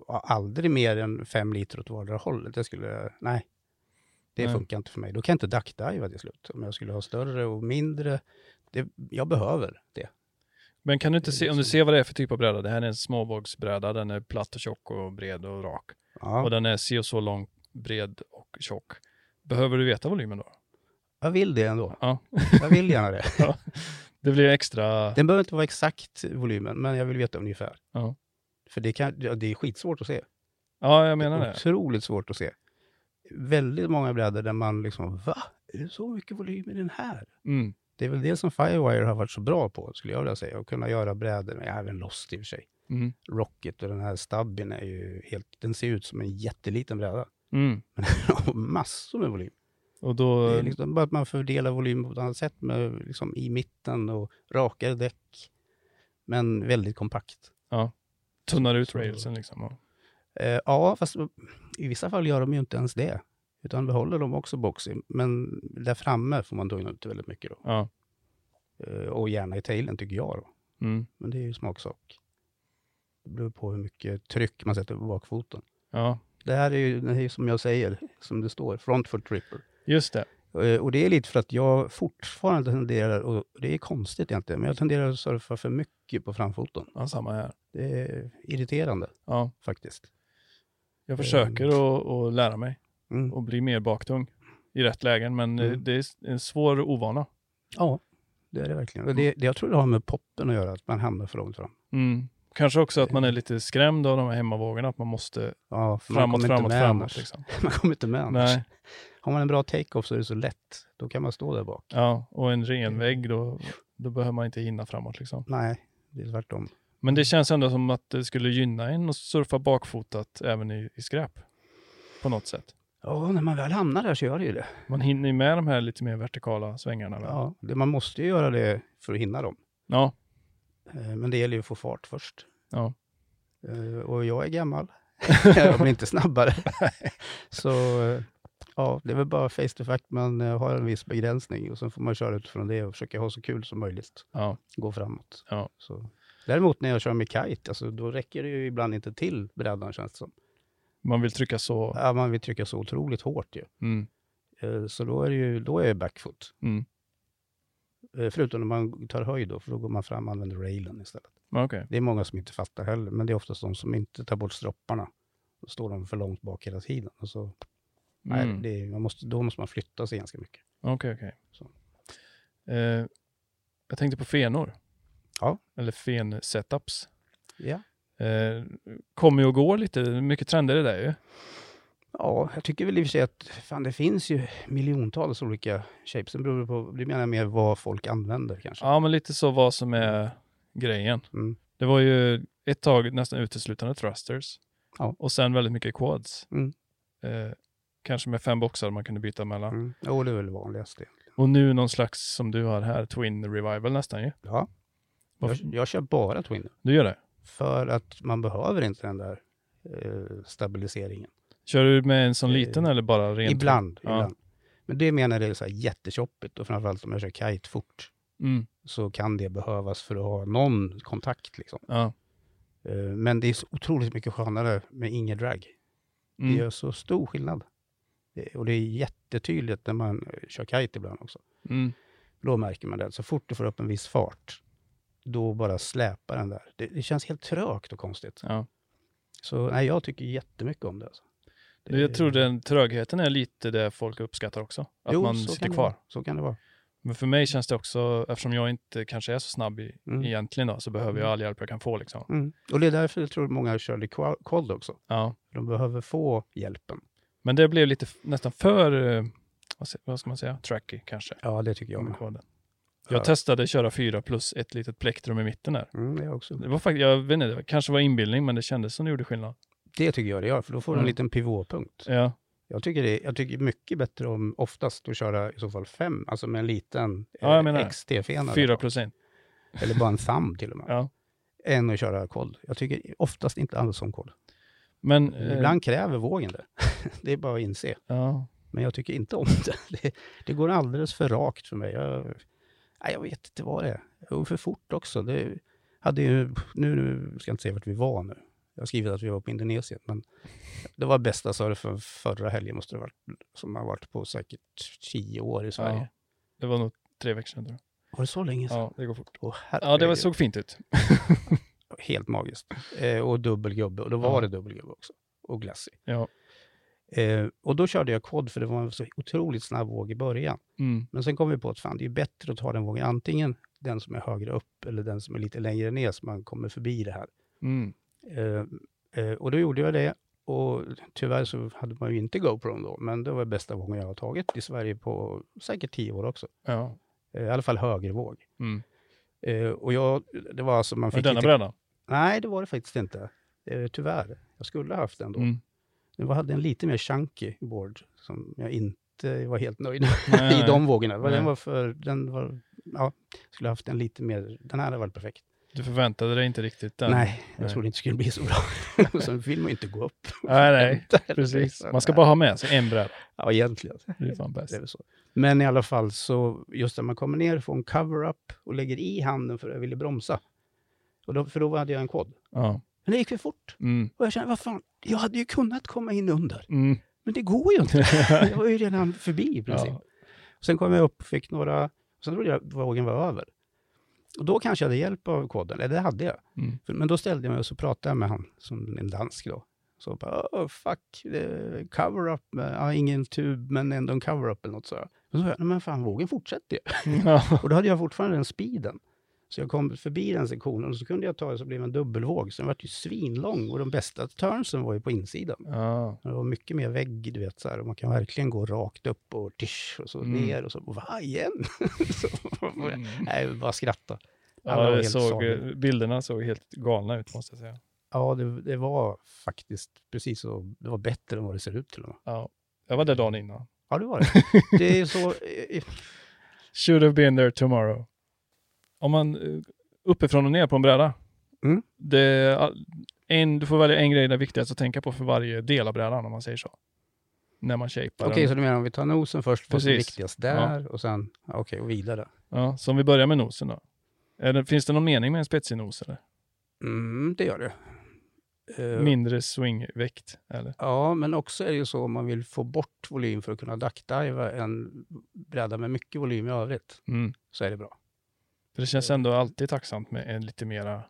S2: ja, aldrig mer än fem liter åt vardera hållet. Det skulle, nej, det
S1: Nej.
S2: funkar inte för mig. Då kan jag inte duckdiva till slut. Om jag skulle ha större och mindre. Det, jag behöver det.
S1: Men kan du
S2: Det
S1: inte
S2: är
S1: se, om du
S2: liksom-
S1: ser vad det är för typ av bräda, det här är en småbågsbräda, den är platt och tjock och bred och rak.
S2: Ja.
S1: Och den är si och så lång, bred och tjock. Behöver du veta volymen då?
S2: Jag vill det ändå.
S1: Ja.
S2: Jag vill gärna det.
S1: Det blir extra...
S2: Den behöver inte vara exakt volymen, men jag vill veta ungefär.
S1: Ja.
S2: För det, kan, ja, det är skitsvårt att se.
S1: Ja, jag menar det.
S2: Otroligt svårt att se. Väldigt många brädor där man liksom, va? Är det så mycket volym i den här?
S1: Mm.
S2: Det är väl det som Firewire har varit så bra på, skulle jag vilja säga. Att kunna göra brädor, men även Lost i och för sig.
S1: Mm.
S2: Rocket och den här Stubbin är ju helt, den ser ut som en jätteliten bräda.
S1: Mm.
S2: Men den har massor med volym.
S1: Och då...
S2: Det är liksom bara att man fördelar volymen på ett annat sätt, med, liksom i mitten och rakare däck. Men väldigt kompakt.
S1: tunnar ut
S2: Så-
S1: railsen liksom. Och,
S2: Eh, ja, fast i vissa fall gör de ju inte ens det. Utan behåller de också boxy. Men där framme får man tunna ut väldigt mycket då.
S1: ja.
S2: Eh, och gärna i tailen tycker jag då.
S1: Mm.
S2: Men det är ju smaksak. Det beror på hur mycket tryck man sätter på bakfoten.
S1: ja,
S2: Det här är ju, det här är ju som jag säger, som det står, front foot tripper.
S1: just det.
S2: Eh, och det är lite för att jag fortfarande tenderar, och det är konstigt egentligen, men jag tenderar att surfa för mycket på framfoten.
S1: Ja, samma här.
S2: Det är irriterande
S1: Ja.
S2: faktiskt.
S1: Jag försöker att, att lära mig
S2: Mm.
S1: och bli mer baktung i rätt lägen, men eh,
S2: Mm.
S1: det är s- en svår ovana.
S2: Ja, det är det verkligen. Och det, det jag tror det har med poppen att göra, att man hamnar för långt fram.
S1: Mm. Kanske också att man är lite skrämd av de här hemmavågorna, att man måste
S2: Ja, för man
S1: framåt,
S2: kommer
S1: framåt,
S2: inte med
S1: framåt.
S2: annars.
S1: Liksom.
S2: Man kommer inte med annars.
S1: Nej,
S2: Har man en bra take-off så är det så lätt. Då kan man stå där bak.
S1: ja, och en ren vägg, då, då behöver man inte hinna framåt liksom.
S2: Nej, det är tvärtom.
S1: Men det känns ändå som att det skulle gynna en att surfa bakfotat även i, i skräp. På något sätt.
S2: Ja, när man väl hamnar där så gör det ju det.
S1: Man hinner ju med de här lite mer vertikala svängarna. väl?
S2: Ja, det man måste ju göra det för att hinna dem.
S1: ja.
S2: Eh, Men det gäller ju att få fart först.
S1: Ja.
S2: Eh, Och jag är gammal. jag blir inte snabbare. så eh, ja, det är väl bara face to fact. Man eh, har en viss begränsning och sen får man köra utifrån det och försöka ha så kul som möjligt.
S1: ja.
S2: gå framåt.
S1: Ja.
S2: Så. Däremot när jag kör med kite, alltså, då räcker det ju ibland inte till brädan känns det som.
S1: Man vill trycka så.
S2: Ja, man vill trycka så otroligt hårt ju.
S1: Mm.
S2: Eh, Så då är, det ju, då är jag backfoot.
S1: Mm.
S2: Eh, Förutom när man tar höjd då, för då går man fram och använder railen istället.
S1: Ja, Okej.
S2: Det är många som inte fattar heller, men det är oftast de som inte tar bort stropparna Då står de för långt bak hela tiden. Och så, nej,
S1: Mm.
S2: det, är- man måste, då måste man flytta sig ganska mycket.
S1: Okej, okej. Eh, jag tänkte på fenor.
S2: Ja.
S1: Eller fen-setups.
S2: Ja.
S1: Eh, kommer och går lite, mycket trender i det där ju.
S2: ja, jag tycker väl i och för sig att fan, det finns ju miljontals olika shapes. Sen beror det på, det menar jag mer vad folk använder kanske.
S1: Ja, men lite så vad som är grejen.
S2: Mm.
S1: Det var ju ett tag nästan uteslutande thrusters.
S2: Ja.
S1: Och sen väldigt mycket quads.
S2: Mm.
S1: Eh, kanske med fem boxar man kunde byta mellan.
S2: Mm. Jo, det är väl vanligast det.
S1: Och nu någon slags som du har här, Twin Revival nästan ju.
S2: Ja. Jag,
S1: Varför-
S2: jag kör bara Twin.
S1: Du gör det?
S2: För att man behöver inte den där eh, stabiliseringen.
S1: Kör du med en sån
S2: Eh,
S1: liten eller bara rent?
S2: Ibland.
S1: Ja.
S2: ibland. Men det menar jag är så här jättechoppigt och framförallt om jag kör kite fort
S1: Mm,
S2: så kan det behövas för att ha någon kontakt. Liksom.
S1: ja.
S2: Eh, men det är så otroligt mycket skönare med ingen drag.
S1: Mm.
S2: Det gör så stor skillnad. Det, och det är jättetydligt när man eh, kör kite ibland också.
S1: Mm.
S2: Då märker man det. Så fort du får upp en viss fart, då bara släpar den där. Det, det känns helt trögt och konstigt.
S1: Ja.
S2: Så nej, jag tycker jättemycket om det. Alltså.
S1: Det, jag tror den trögheten är lite det folk uppskattar också. Att
S2: Jo,
S1: man
S2: så
S1: sitter
S2: kan det
S1: kvar.
S2: vara. Så kan det vara.
S1: Men för mig känns det också, eftersom jag inte kanske är så snabb i,
S2: Mm.
S1: egentligen då, så behöver jag all hjälp jag kan få liksom.
S2: Mm. Och det är därför jag tror många kör det qua- quad också.
S1: Ja.
S2: De behöver få hjälpen.
S1: Men det blev lite f- nästan för, eh, vad se- vad ska man säga, tracky kanske.
S2: Ja, det tycker jag
S1: med
S2: med.
S1: koden.
S2: Ja.
S1: Jag testade köra fyra plus ett litet plektrum i mitten där.
S2: Mm, det, är också.
S1: Det var faktiskt, jag vet inte, det kanske var inbildning men det kändes som det gjorde skillnad.
S2: det tycker jag det gör, för då får du en
S1: Mm.
S2: liten pivotpunkt.
S1: Ja,
S2: Jag tycker, det, jag tycker mycket bättre om oftast att köra i så fall fem, alltså med en liten
S1: Ja, jag menar det.
S2: XT-fena.
S1: fyra plus en.
S2: Eller bara en thumb till och med.
S1: Ja.
S2: Än att köra koll. Jag tycker oftast inte alls om koll.
S1: Men, eh,
S2: Ibland kräver vågen det. det är bara att inse.
S1: Ja.
S2: Men jag tycker inte om det. Det, det går alldeles för rakt för mig. Jag, nej, jag vet inte vad det är. Det går för fort också. Det hade ju, nu, nu ska jag inte säga vart vi var nu. Jag har skrivit att vi var på Indonesien, men det var bästa surfen förra helgen, måste det ha varit, som har varit på säkert tio år i Sverige.
S1: ja. Det var nog tre veckor sedan tror jag.
S2: Var det så länge sedan?
S1: Ja, det går fort.
S2: Åh,
S1: Ja, det var,
S2: herregud.
S1: såg fint ut.
S2: Helt magiskt. Eh, och dubbel gubbe, och då var
S1: Ja.
S2: det dubbel gubbe också. Och glassig.
S1: Ja.
S2: Eh, och då körde jag quad, för det var en så otroligt snabb våg i början.
S1: Mm.
S2: Men sen kom vi på att fan, det är ju bättre att ta den vågen, antingen den som är högre upp eller den som är lite längre ner så man kommer förbi det här.
S1: Mm.
S2: Eh, eh, och då gjorde jag det och tyvärr så hade man ju inte GoPro då, men det var bästa vågen jag har tagit i Sverige på säkert tio år också.
S1: Ja.
S2: Eh, I alla fall högervåg.
S1: Mm.
S2: Eh, och jag, det var alltså man
S1: Med
S2: fick
S1: denna
S2: inte...
S1: brädan.
S2: Nej, det var det faktiskt inte. Eh, tyvärr. Jag skulle ha haft den då.
S1: Mm.
S2: Jag hade en lite mer chunky board som jag inte var helt nöjd
S1: Nej,
S2: i
S1: nej.
S2: de vågorna. Vad Den
S1: Nej.
S2: var för, den var, ja, skulle haft en lite mer, den här hade varit perfekt.
S1: Du förväntade dig inte riktigt den.
S2: Nej, jag
S1: Nej.
S2: trodde det inte skulle bli så bra. Och Sen vill man ju inte gå upp.
S1: Nej, nej.
S2: Inte heller.
S1: Precis.
S2: Så,
S1: Man ska
S2: nej.
S1: bara ha med sig en bräda.
S2: Ja, egentligen.
S1: Det är fan bäst.
S2: Det är väl så. Men i alla fall så, just när man kommer ner, får en cover-up och lägger i handen för att jag ville bromsa. Och då, för då hade jag en kod.
S1: Ja.
S2: Men det gick för fort.
S1: Mm.
S2: Och jag kände, vad fan, jag hade ju kunnat komma in under.
S1: Mm.
S2: Men det går ju inte. Jag var ju redan förbi i princip.
S1: Ja.
S2: Sen kom jag upp, fick några... Sen trodde jag vågen var över. Och då kanske jag hade hjälp av koden, eller det hade jag.
S1: Mm.
S2: För- Men då ställde jag mig och så pratade jag med han, som en dansk då. Så bara, oh, fuck, eh, cover-up, med- ja, ingen tub, men ändå en cover-up eller något så. Och så sa jag, "Nej, men fan, vågen fortsätter ju.
S1: Ja.
S2: Och då hade jag fortfarande den speeden. Så jag kom förbi den sektionen och så kunde jag ta det så blev det en dubbelvåg. Så den var ju svinlång och de bästa turnsen var ju på insidan.
S1: Ja.
S2: Det var mycket mer vägg, du vet, så här, och man kan verkligen gå rakt upp och tisch och så
S1: Mm.
S2: ner och så, va igen? så,
S1: Mm.
S2: Nej, bara skratta. Alla
S1: Ja,
S2: var
S1: det
S2: helt
S1: såg,
S2: saliga.
S1: bilderna såg helt galna ut måste jag säga.
S2: Ja, det, det var faktiskt precis så. Det var bättre än vad det ser ut till och med.
S1: Ja. Jag var där
S2: Mm.
S1: dagen innan.
S2: Ja, det var det. Det är så... eh,
S1: Should have been there tomorrow. Om man eh, uppifrån och ner på en bräda.
S2: Mm.
S1: Det, all- en, du får välja en grej där är viktigast att tänka på för varje del av brädan om man säger så. När man shapar
S2: Okej,
S1: den.
S2: så du menar om vi tar nosen först, vad som är
S1: Precis.
S2: viktigast där och sen, ja, okej, och vidare.
S1: Ja, så om vi börjar med nosen då. Är det, finns det någon mening med en spetsig nos eller?
S2: Mm, det gör det. Eh,
S1: Mindre swingväkt eller?
S2: Ja, men också är det ju så om man vill få bort volym för att kunna duckdiva en bräda med mycket volym i övrigt,
S1: Mm.
S2: så är det bra.
S1: För det känns ändå alltid tacksamt med en lite mera...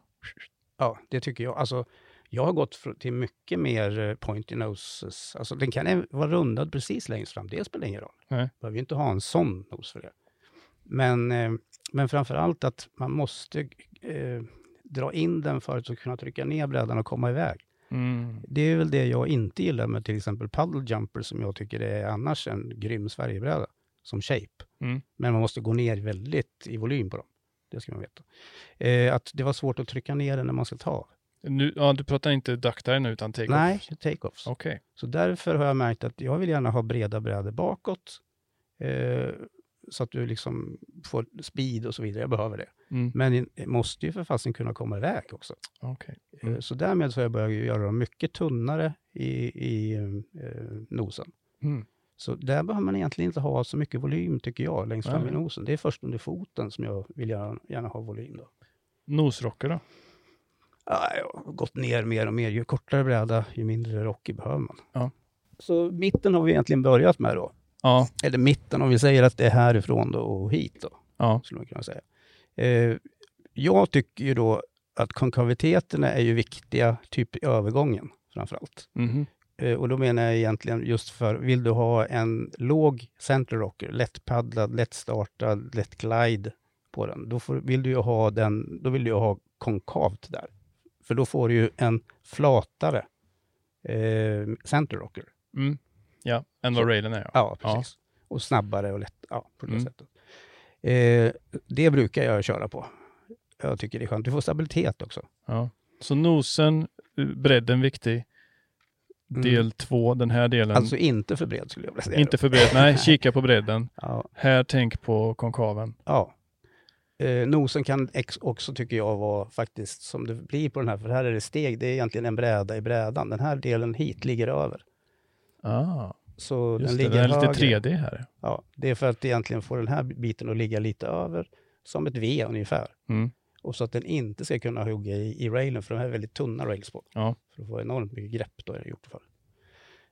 S2: Ja, det tycker jag. Alltså, Jag har gått fr- till mycket mer eh, pointy noses. Alltså den kan även vara rundad precis längst fram, det spelar ingen roll.
S1: Nej.
S2: behöver ju inte ha en sån nos för det. Men, eh, men framför allt att man måste eh, dra in den för att kunna trycka ner brädan och komma iväg.
S1: Mm.
S2: Det är väl det jag inte gillar med till exempel paddle jumper som jag tycker är annars en grym Sverigebräda som shape.
S1: Mm.
S2: Men man måste gå ner väldigt i volym på dem. Det ska man veta. Eh, att det var svårt att trycka ner den när man ska ta av.
S1: Nu, ja, du pratar inte duckdare nu utan take
S2: Nej, take-offs.
S1: Okej.
S2: Så därför har jag märkt att jag vill gärna ha breda brädor bakåt. Eh, så att du liksom får speed och så vidare. Jag behöver det.
S1: Mm.
S2: Men in- måste ju för fasen kunna komma iväg också.
S1: Okej.
S2: Eh,
S1: Mm.
S2: Så därmed så har jag börjat göra dem mycket tunnare i, i eh, nosen.
S1: Mm.
S2: Så där behöver man egentligen inte ha så mycket volym tycker jag, längst fram
S1: Nej.
S2: i nosen. Det är först under foten som jag vill gärna, gärna ha volym. Då.
S1: Nosrocker då?
S2: Ja, jag har gått ner mer och mer. Ju kortare bräda, ju mindre rockig behöver man.
S1: Ja.
S2: Så mitten har vi egentligen börjat med då.
S1: Ja.
S2: eller mitten, om vi säger att det är härifrån då och hit då,
S1: Ja.
S2: skulle man kunna säga. Eh, jag tycker ju då att konkaviteterna är ju viktiga, typ i övergången framför allt.
S1: Mhm.
S2: Eh, och då menar jag egentligen just för, vill du ha en låg center rocker, lättpaddlad, lättstartad, lätt glide på den, då, får, vill du ju ha den, då vill du ju ha konkavt där. För då får du ju en flatare eh, center rocker.
S1: Mm. Ja, än vad
S2: Så-
S1: railen är. Ja.
S2: Ja, precis. Och snabbare och lätt. Ja, på det
S1: Mm.
S2: sättet. Eh, det brukar jag köra på. Jag tycker det är skönt. Du får stabilitet
S1: Mm.
S2: också.
S1: Ja. Så nosen, eh, bredden viktig.
S2: Mm.
S1: Del två, den här delen.
S2: Alltså inte för bred skulle jag vilja säga.
S1: inte för bred. Nej, kika på bredden.
S2: Ja.
S1: Här, tänk på konkaven.
S2: ja. Eh, nosen kan ex- också, tycker jag, vara faktiskt som det blir på den här. För här är det steg. Det är egentligen en bräda i brädan. Den här delen hit ligger över.
S1: Ah,
S2: Så
S1: just
S2: den
S1: det.
S2: ligger
S1: Den är
S2: högre.
S1: lite 3D här.
S2: Ja, det är för att egentligen få den här biten att ligga lite över, som ett V ungefär.
S1: Mm.
S2: Och så att den inte ska kunna hugga i, i railen, för de här är väldigt tunna rails på.
S1: Ja.
S2: För att få enormt mycket grepp då är det gjort för.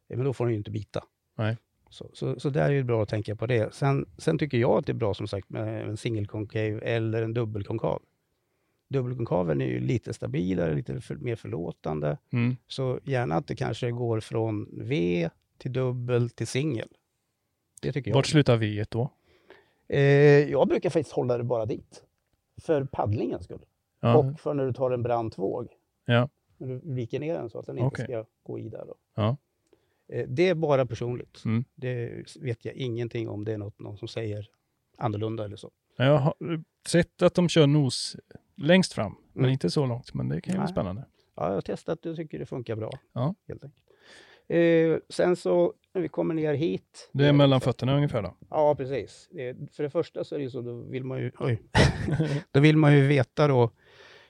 S2: Eh, Men då får den ju inte bita.
S1: Nej.
S2: Så, så, så där är det bra att tänka på det. Sen, sen tycker jag att det är bra som sagt med en singelkonkav eller en dubbelkonkav. Dubbelkonkaven är ju lite stabilare, lite för, mer förlåtande.
S1: Mm.
S2: Så gärna att det kanske går från V till dubbel till singel. Det tycker jag.
S1: Vart slutar V då?
S2: Eh, jag brukar faktiskt hålla det bara dit. För paddlingens skull.
S1: Ja.
S2: Och för när du tar en brant våg.
S1: Ja.
S2: När du viker ner den så att den inte
S1: Okej.
S2: ska gå i där. Då.
S1: Ja.
S2: Eh, det är bara personligt.
S1: Mm.
S2: Det vet jag ingenting om det är något, någon som säger annorlunda eller så.
S1: Jag har eh, sett att de kör nos längst fram, men
S2: Mm.
S1: inte så långt. Men det kan ju vara
S2: Nej.
S1: spännande.
S2: Ja, jag har testat och tycker det funkar bra.
S1: Ja.
S2: Helt enkelt. Eh, sen så, när vi kommer ner hit.
S1: Det är mellan fötterna ungefär då?
S2: Ja, precis. Eh, För det första så är det ju så, då vill man ju, oj, då vill man ju veta då,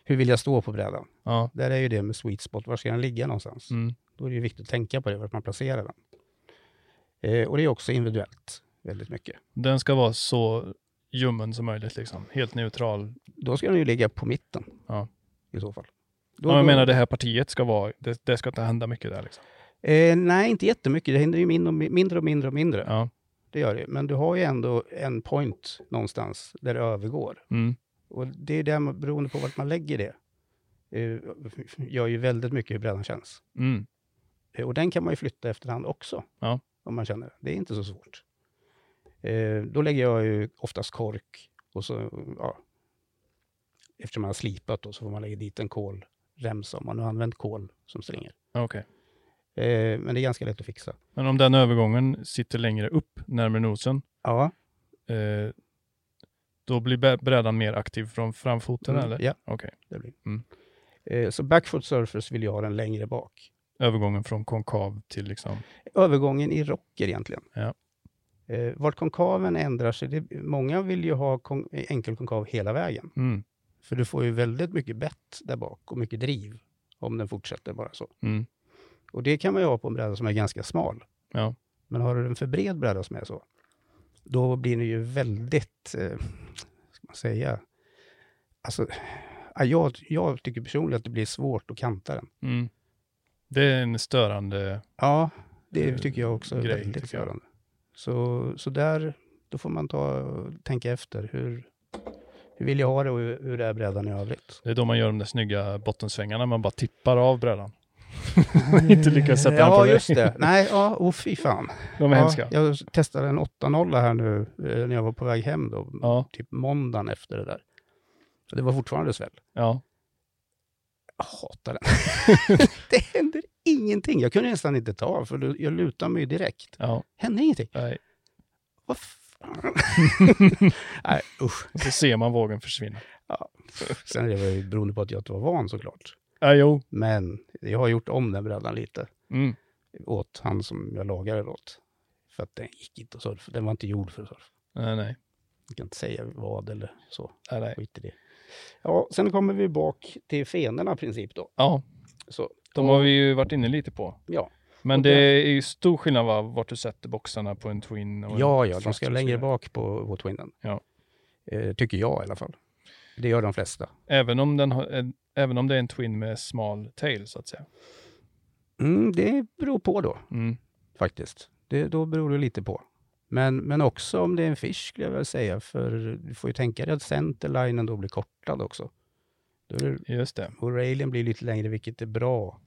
S2: hur vill jag stå på brädan?
S1: Ja.
S2: Där är ju det med sweet spot, var ska den ligga någonstans?
S1: Mm.
S2: Då är det ju viktigt att tänka på det, vart man placerar den. Eh, och det är också individuellt, väldigt mycket.
S1: Den ska vara så ljummen som möjligt, liksom. helt neutral.
S2: Då ska den ju ligga på mitten
S1: Ja.
S2: i så fall. Då-
S1: Ja, jag
S2: då-
S1: menar det här partiet ska vara, det, det ska inte hända mycket där. Liksom.
S2: eh, nej, inte jättemycket. Det händer ju mindre och mi- mindre och mindre. Och mindre.
S1: Ja.
S2: Det gör det. Men du har ju ändå en point någonstans där det övergår.
S1: Mm.
S2: Och det är där, man- beroende på vart man lägger det, eh, gör ju väldigt mycket hur brädan känns.
S1: Mm.
S2: Eh, Och den kan man ju flytta efterhand också.
S1: Ja.
S2: Om man känner det. Det är inte så svårt. Eh, då lägger jag ju oftast kork och så, ja. Eftersom man har slipat då så får man lägga dit en kolremsa om man nu har använt kol som stringer.
S1: Okej.
S2: Eh, men det är ganska lätt att fixa.
S1: Men om den övergången sitter längre upp, närmare nosen,
S2: Ja.
S1: eh, då blir bä- brädan mer aktiv från framfoten
S2: Mm,
S1: eller?
S2: Ja,
S1: Okej.
S2: det blir.
S1: Mm.
S2: Eh, så backfoot surfers vill jag ha den längre bak.
S1: Övergången från konkav till liksom...
S2: Övergången i rocker egentligen.
S1: Ja.
S2: Eh, vart konkaven ändrar sig, det, många vill ju ha kon, enkel konkav hela vägen.
S1: Mm.
S2: För du får ju väldigt mycket bett där bak och mycket driv om den fortsätter bara så.
S1: Mm.
S2: Och det kan man ju ha på en bräda som är ganska smal.
S1: Ja.
S2: Men har du en för bred bräda som är så, då blir det ju väldigt, eh, ska man säga, alltså, ja, jag, jag tycker personligen att det blir svårt att kanta den.
S1: Mm. Det är en störande...
S2: Ja, det
S1: Eh,
S2: tycker jag också är
S1: grej,
S2: väldigt
S1: tycker jag.
S2: störande. Så, så där, då får man ta, tänka efter, hur, hur vill jag ha det och hur, hur är brädan i övrigt?
S1: Det är då man gör de där snygga bottensvängarna, man bara tippar av brädan. inte lyckas sätta den på
S2: Ja,
S1: dig.
S2: just det. Nej, ja, oh, fy fan.
S1: De är
S2: ja,
S1: hemska.
S2: jag testade en 8-0 här nu eh, när jag var på väg hem då,
S1: Ja,
S2: typ måndagen efter det där. Så det var fortfarande sväll.
S1: ja.
S2: Jag hatar den. det händer ingenting. Jag kunde nästan inte ta, för lu- jag lutade mig direkt.
S1: ja.
S2: Hände ingenting.
S1: Nej.
S2: Vad fan? Nej, usch.
S1: Och så ser man vågen försvinna.
S2: Sen är det väl beroende på att jag inte var van såklart.
S1: Ja, Äh, jo.
S2: Men jag har gjort om den brädan lite
S1: Mm.
S2: åt han som jag lagade den åt. För att den gick inte att surfa. Den var inte gjord för surf.
S1: Nej, Äh, nej. Äh,
S2: Jag kan inte säga vad eller så.
S1: nej, nej.
S2: Skit i det. Ja, sen kommer vi bak till fenorna i princip då.
S1: Ja,
S2: Så,
S1: de har vi ju varit inne lite på.
S2: ja.
S1: Men
S2: Och
S1: det
S2: där-
S1: är ju stor skillnad va, vart du sätter boxarna på en Twin. Och en
S2: ja, ja,
S1: Thrust
S2: de ska
S1: och så
S2: längre
S1: vidare.
S2: bak på, på twinnen.
S1: Ja.
S2: Eh, tycker jag i alla fall. Det gör de flesta.
S1: Även om, den har, en- även om det är en Twin med smal tail så att säga.
S2: Mm, det beror på då.
S1: Mm.
S2: faktiskt. Det, då beror det lite på. Men, men också om det är en fish skulle jag väl säga, för du får ju tänka dig att centerlinen då blir kortad också. Då är det,
S1: Just det.
S2: och railen blir lite längre, vilket är bra.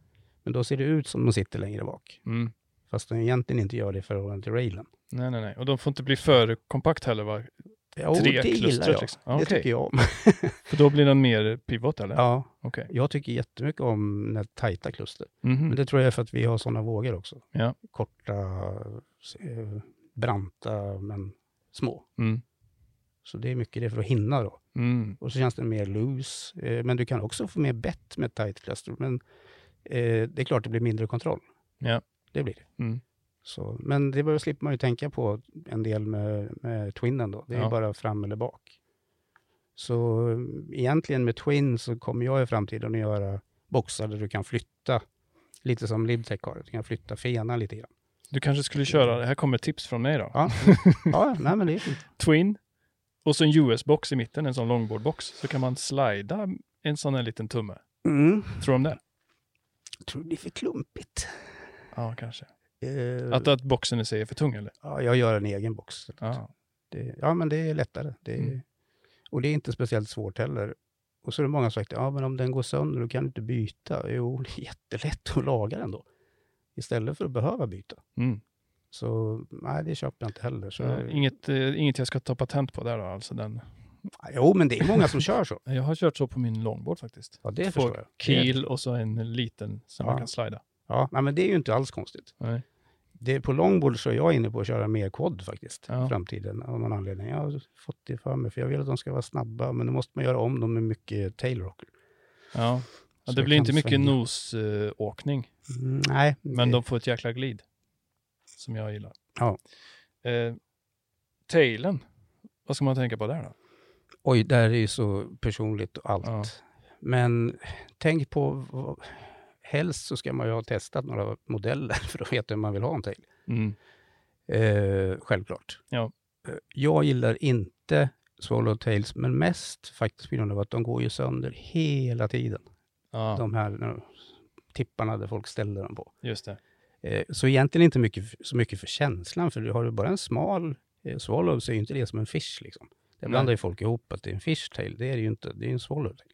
S2: Men då ser det ut som de sitter längre bak,
S1: Mm.
S2: fast de egentligen inte gör det i förhållande till railen.
S1: Nej, nej, nej. Och de får inte bli för kompakt heller va?
S2: Ja,
S1: Tre
S2: det gillar
S1: klustret,
S2: jag.
S1: liksom. Ja,
S2: Det
S1: okej.
S2: tycker jag om.
S1: För då blir den mer pivot eller?
S2: Ja,
S1: Okej.
S2: jag tycker jättemycket om när tajta kluster.
S1: Mhm.
S2: Men det tror jag är för att vi har sådana vågor också.
S1: Ja.
S2: Korta, eh, branta, men små.
S1: Mm.
S2: Så det är mycket det för att hinna då.
S1: Mm.
S2: Och så känns den mer loose. Eh, men du kan också få mer bett med tight cluster. Men eh, det är klart det blir mindre kontroll.
S1: Ja.
S2: Det blir det.
S1: Mm.
S2: Så, men det behöver slipper man ju tänka på en del med, med twinnen då. Det är
S1: Ja.
S2: ju bara fram eller bak. Så eh, egentligen med twin så kommer jag i framtiden att göra boxar där du kan flytta. Lite som Libtech har, du kan flytta fenan lite grann.
S1: Du kanske skulle
S2: Mm.
S1: köra, här kommer tips från mig då.
S2: Ja. Ja, nej men det är fint.
S1: Twin och så en US-box i mitten, en sån longboardbox. Så kan man slida en sån här liten tumme.
S2: Mm.
S1: Tror du om det?
S2: Jag tror det blir för klumpigt.
S1: Ja, kanske.
S2: Eh,
S1: Att, att boxen i sig är för tung eller?
S2: ja, jag gör en egen box.
S1: Ja.
S2: Det, ja, men det är lättare. Det,
S1: Mm.
S2: Och det är inte speciellt svårt heller. Och så är det många som sagt, ja men om den går sönder, då kan du inte byta. Jo, det är jättelätt att laga den då. Istället för att behöva byta.
S1: Mm.
S2: Så nej, det köper jag inte heller. Så,
S1: Så inget, eh, inget jag ska ta patent på där då, alltså den.
S2: Jo, men det är många som kör så.
S1: Jag har kört så på min longboard faktiskt.
S2: Ja, det
S1: Två
S2: förstår jag. Det-
S1: Keel och så en liten som
S2: Ja.
S1: man kan slida.
S2: Ja, nej, men det är ju inte alls konstigt.
S1: Nej.
S2: Det, på longboard så är jag inne på att köra mer quad faktiskt i
S1: Ja.
S2: framtiden av någon anledning. Jag har fått det för mig, för jag vill att de ska vara snabba, men då måste man göra om dem med mycket tailrocker.
S1: Ja. Ja,
S2: Så
S1: det
S2: jag
S1: blir
S2: kan
S1: inte mycket
S2: svänga.
S1: nosåkning,
S2: Mm, nej,
S1: men
S2: det-
S1: de får ett jäkla glid. Som jag gillar.
S2: Ja.
S1: Eh, tailen, vad ska man tänka på där då?
S2: Oj, det här är ju så personligt och allt.
S1: Ja.
S2: Men tänk på, vad- helst så ska man ju ha testat några modeller för att veta hur man vill ha en tail.
S1: Mm.
S2: Eh, självklart.
S1: Ja.
S2: Eh, Jag gillar inte swallow tails, men mest faktiskt på grund av att de går ju sönder hela tiden.
S1: Ja,
S2: De här eh, tipparna där folk ställer dem på.
S1: just det.
S2: Eh, så egentligen inte mycket, f- så mycket för känslan, för du har du bara en smal eh, swallow så är ju inte det som en fish. Liksom. Det
S1: Nej.
S2: blandar ju folk ihop att det är en fishtail. Det är det ju inte, det är ju en swallow tail.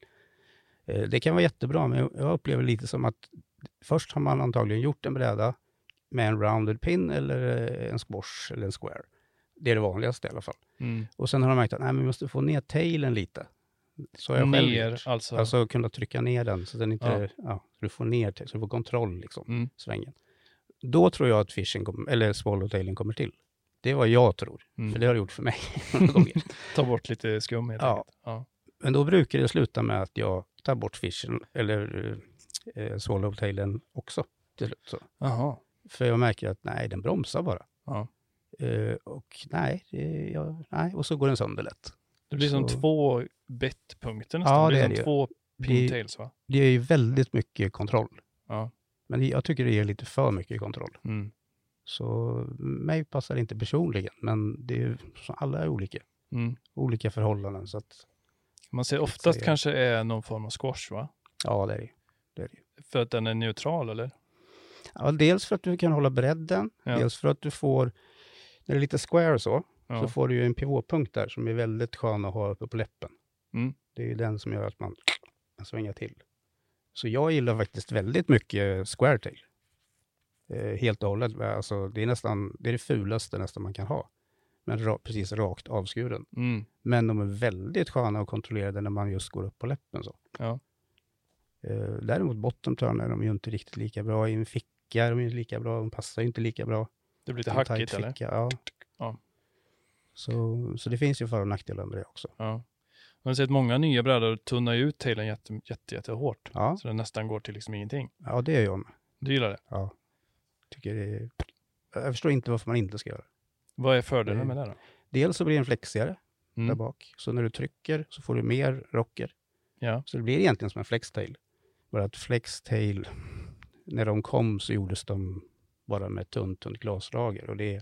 S2: Eh, det kan vara jättebra, men jag- jag upplever lite som att först har man antagligen gjort en bräda med en rounded pin eller eh, en squash eller en square. Det är det vanligaste i alla fall.
S1: Mm.
S2: Och sen har de märkt att nej, men vi måste få ner tailen lite. Så har jag själv
S1: Ner,
S2: gjort.
S1: alltså.
S2: Alltså kunna trycka ner den så den inte, ja. så du får ner, till- så du får kontroll liksom,
S1: Mm.
S2: svängen. Då tror jag att fishing kom, eller swallowtailen kommer till. Det är vad jag tror,
S1: Mm.
S2: för det har det gjort för mig några gånger.
S1: Ta bort lite skum helt
S2: Ja.
S1: enkelt. Ja.
S2: Men då brukar det sluta med att jag tar bort fishing, eller eh, swallowtailen också till slut. Så.
S1: Jaha.
S2: För jag märker att nej, den bromsar bara.
S1: Ja.
S2: Eh, och nej, det, jag, nej, och så går den sönder lätt.
S1: Det blir som
S2: Så-
S1: två bettpunkter nästan.
S2: Ja,
S1: det blir
S2: det är
S1: som
S2: det ju.
S1: två pintails va?
S2: Det är ju väldigt mycket kontroll.
S1: Ja.
S2: Men jag tycker det är lite för mycket kontroll.
S1: Mm.
S2: Så mig passar det inte personligen, men det är, ju- så alla är olika.
S1: Mm.
S2: Olika förhållanden, så att
S1: Man ser oftast
S2: säga.
S1: kanske är någon form av squash va?
S2: ja, det är det. det, är det. ju.
S1: För att den är neutral eller?
S2: Ja, dels för att du kan hålla bredden,
S1: Ja.
S2: dels för att du får, när det är lite square så,
S1: Ja.
S2: så får du ju en pivotpunkt där som är väldigt skön att ha uppe på läppen.
S1: Mm.
S2: Det är ju den som gör att man kan svänga till. Så jag gillar faktiskt väldigt mycket squaretail. Eh, helt och hållet. Alltså, det, är nästan, det är det fulaste nästan man kan ha. Men ra, precis rakt avskuren.
S1: Mm.
S2: Men de är väldigt sköna och kontrollerade när man just går upp på läppen. Så.
S1: Ja.
S2: Eh, däremot bottomturn är de ju inte riktigt lika bra. I en ficka är de ju inte lika bra. De passar ju inte lika bra.
S1: Det blir lite
S2: En
S1: hackigt
S2: tight
S1: eller?
S2: ficka, Ja.
S1: Ja.
S2: Så, så det finns ju för och nackdelar med det också.
S1: Ja. Man har sett många nya brädor tunna ut tailen jätte, jätte, jättehårt.
S2: Ja,
S1: Så den nästan går till liksom ingenting.
S2: ja det gör jag med.
S1: Du gillar det.
S2: Tycker det är... Jag förstår inte varför man inte ska göra det.
S1: Vad är fördelen med
S2: Mm.
S1: det då?
S2: Dels så blir den flexigare där
S1: Mm.
S2: bak. Så när du trycker så får du mer rocker.
S1: Ja.
S2: Så det blir egentligen som en flextail. Bara att flextail, när de kom så gjordes de bara med tunt, tunt glaslager. Och det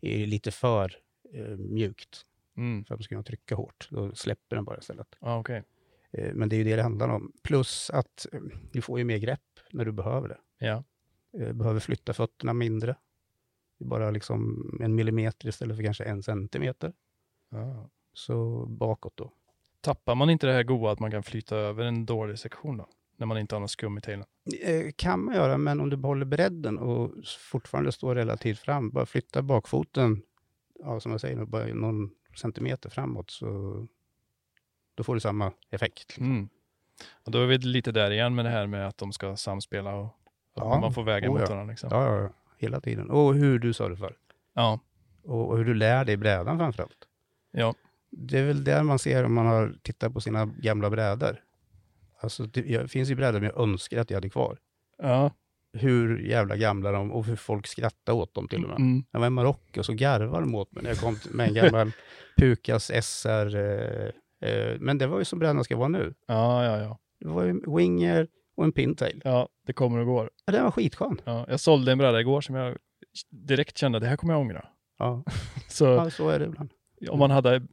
S2: är lite för eh, mjukt
S1: Mm.
S2: för att man ska kunna trycka hårt. Då släpper den bara istället.
S1: Ja, okej.
S2: Eh, Men det är ju det det handlar om. Plus att eh, du får ju mer grepp när du behöver det.
S1: Ja.
S2: Eh, Behöver flytta fötterna mindre. Det är Bara liksom en millimeter istället för kanske en centimeter. Så bakåt då.
S1: Tappar man inte det här goa att man kan flytta över en dålig sektion då? När man inte har någon skum i tailen?
S2: Eh, kan man göra, men om du behåller bredden och s- fortfarande står relativt fram, bara flytta bakfoten, ja, som jag säger, bara någon centimeter framåt, så då får du samma effekt.
S1: Mm. Och då är vi lite där igen med det här med att de ska samspela och att
S2: Ja.
S1: man får väga
S2: Oh,
S1: mot
S2: ja.
S1: varandra. Liksom.
S2: Ja, ja, ja, hela tiden. Och hur du surfar.
S1: Ja.
S2: Och, och hur du lär dig brädan framförallt.
S1: Ja.
S2: Det är väl där man ser om man har tittat på sina gamla brädor. Alltså, det jag- finns ju brädor jag önskar att jag hade kvar.
S1: ja.
S2: Hur jävla gamla de och hur folk skrattar åt dem till och med.
S1: Mm.
S2: Jag var i Marocko så garvade de åt mig när jag kom till- med en gammal Pukas SR. Eh, eh, men det var ju som brädan ska vara nu.
S1: ja, ja, ja.
S2: Det var ju en winger och en pintail.
S1: Ja, det kommer och går.
S2: Ja, den var skitskön.
S1: Ja. Jag sålde en bräda igår som jag direkt kände, det här kommer jag ångra.
S2: Ja,
S1: Så
S2: ja så är det ibland.
S1: om man hade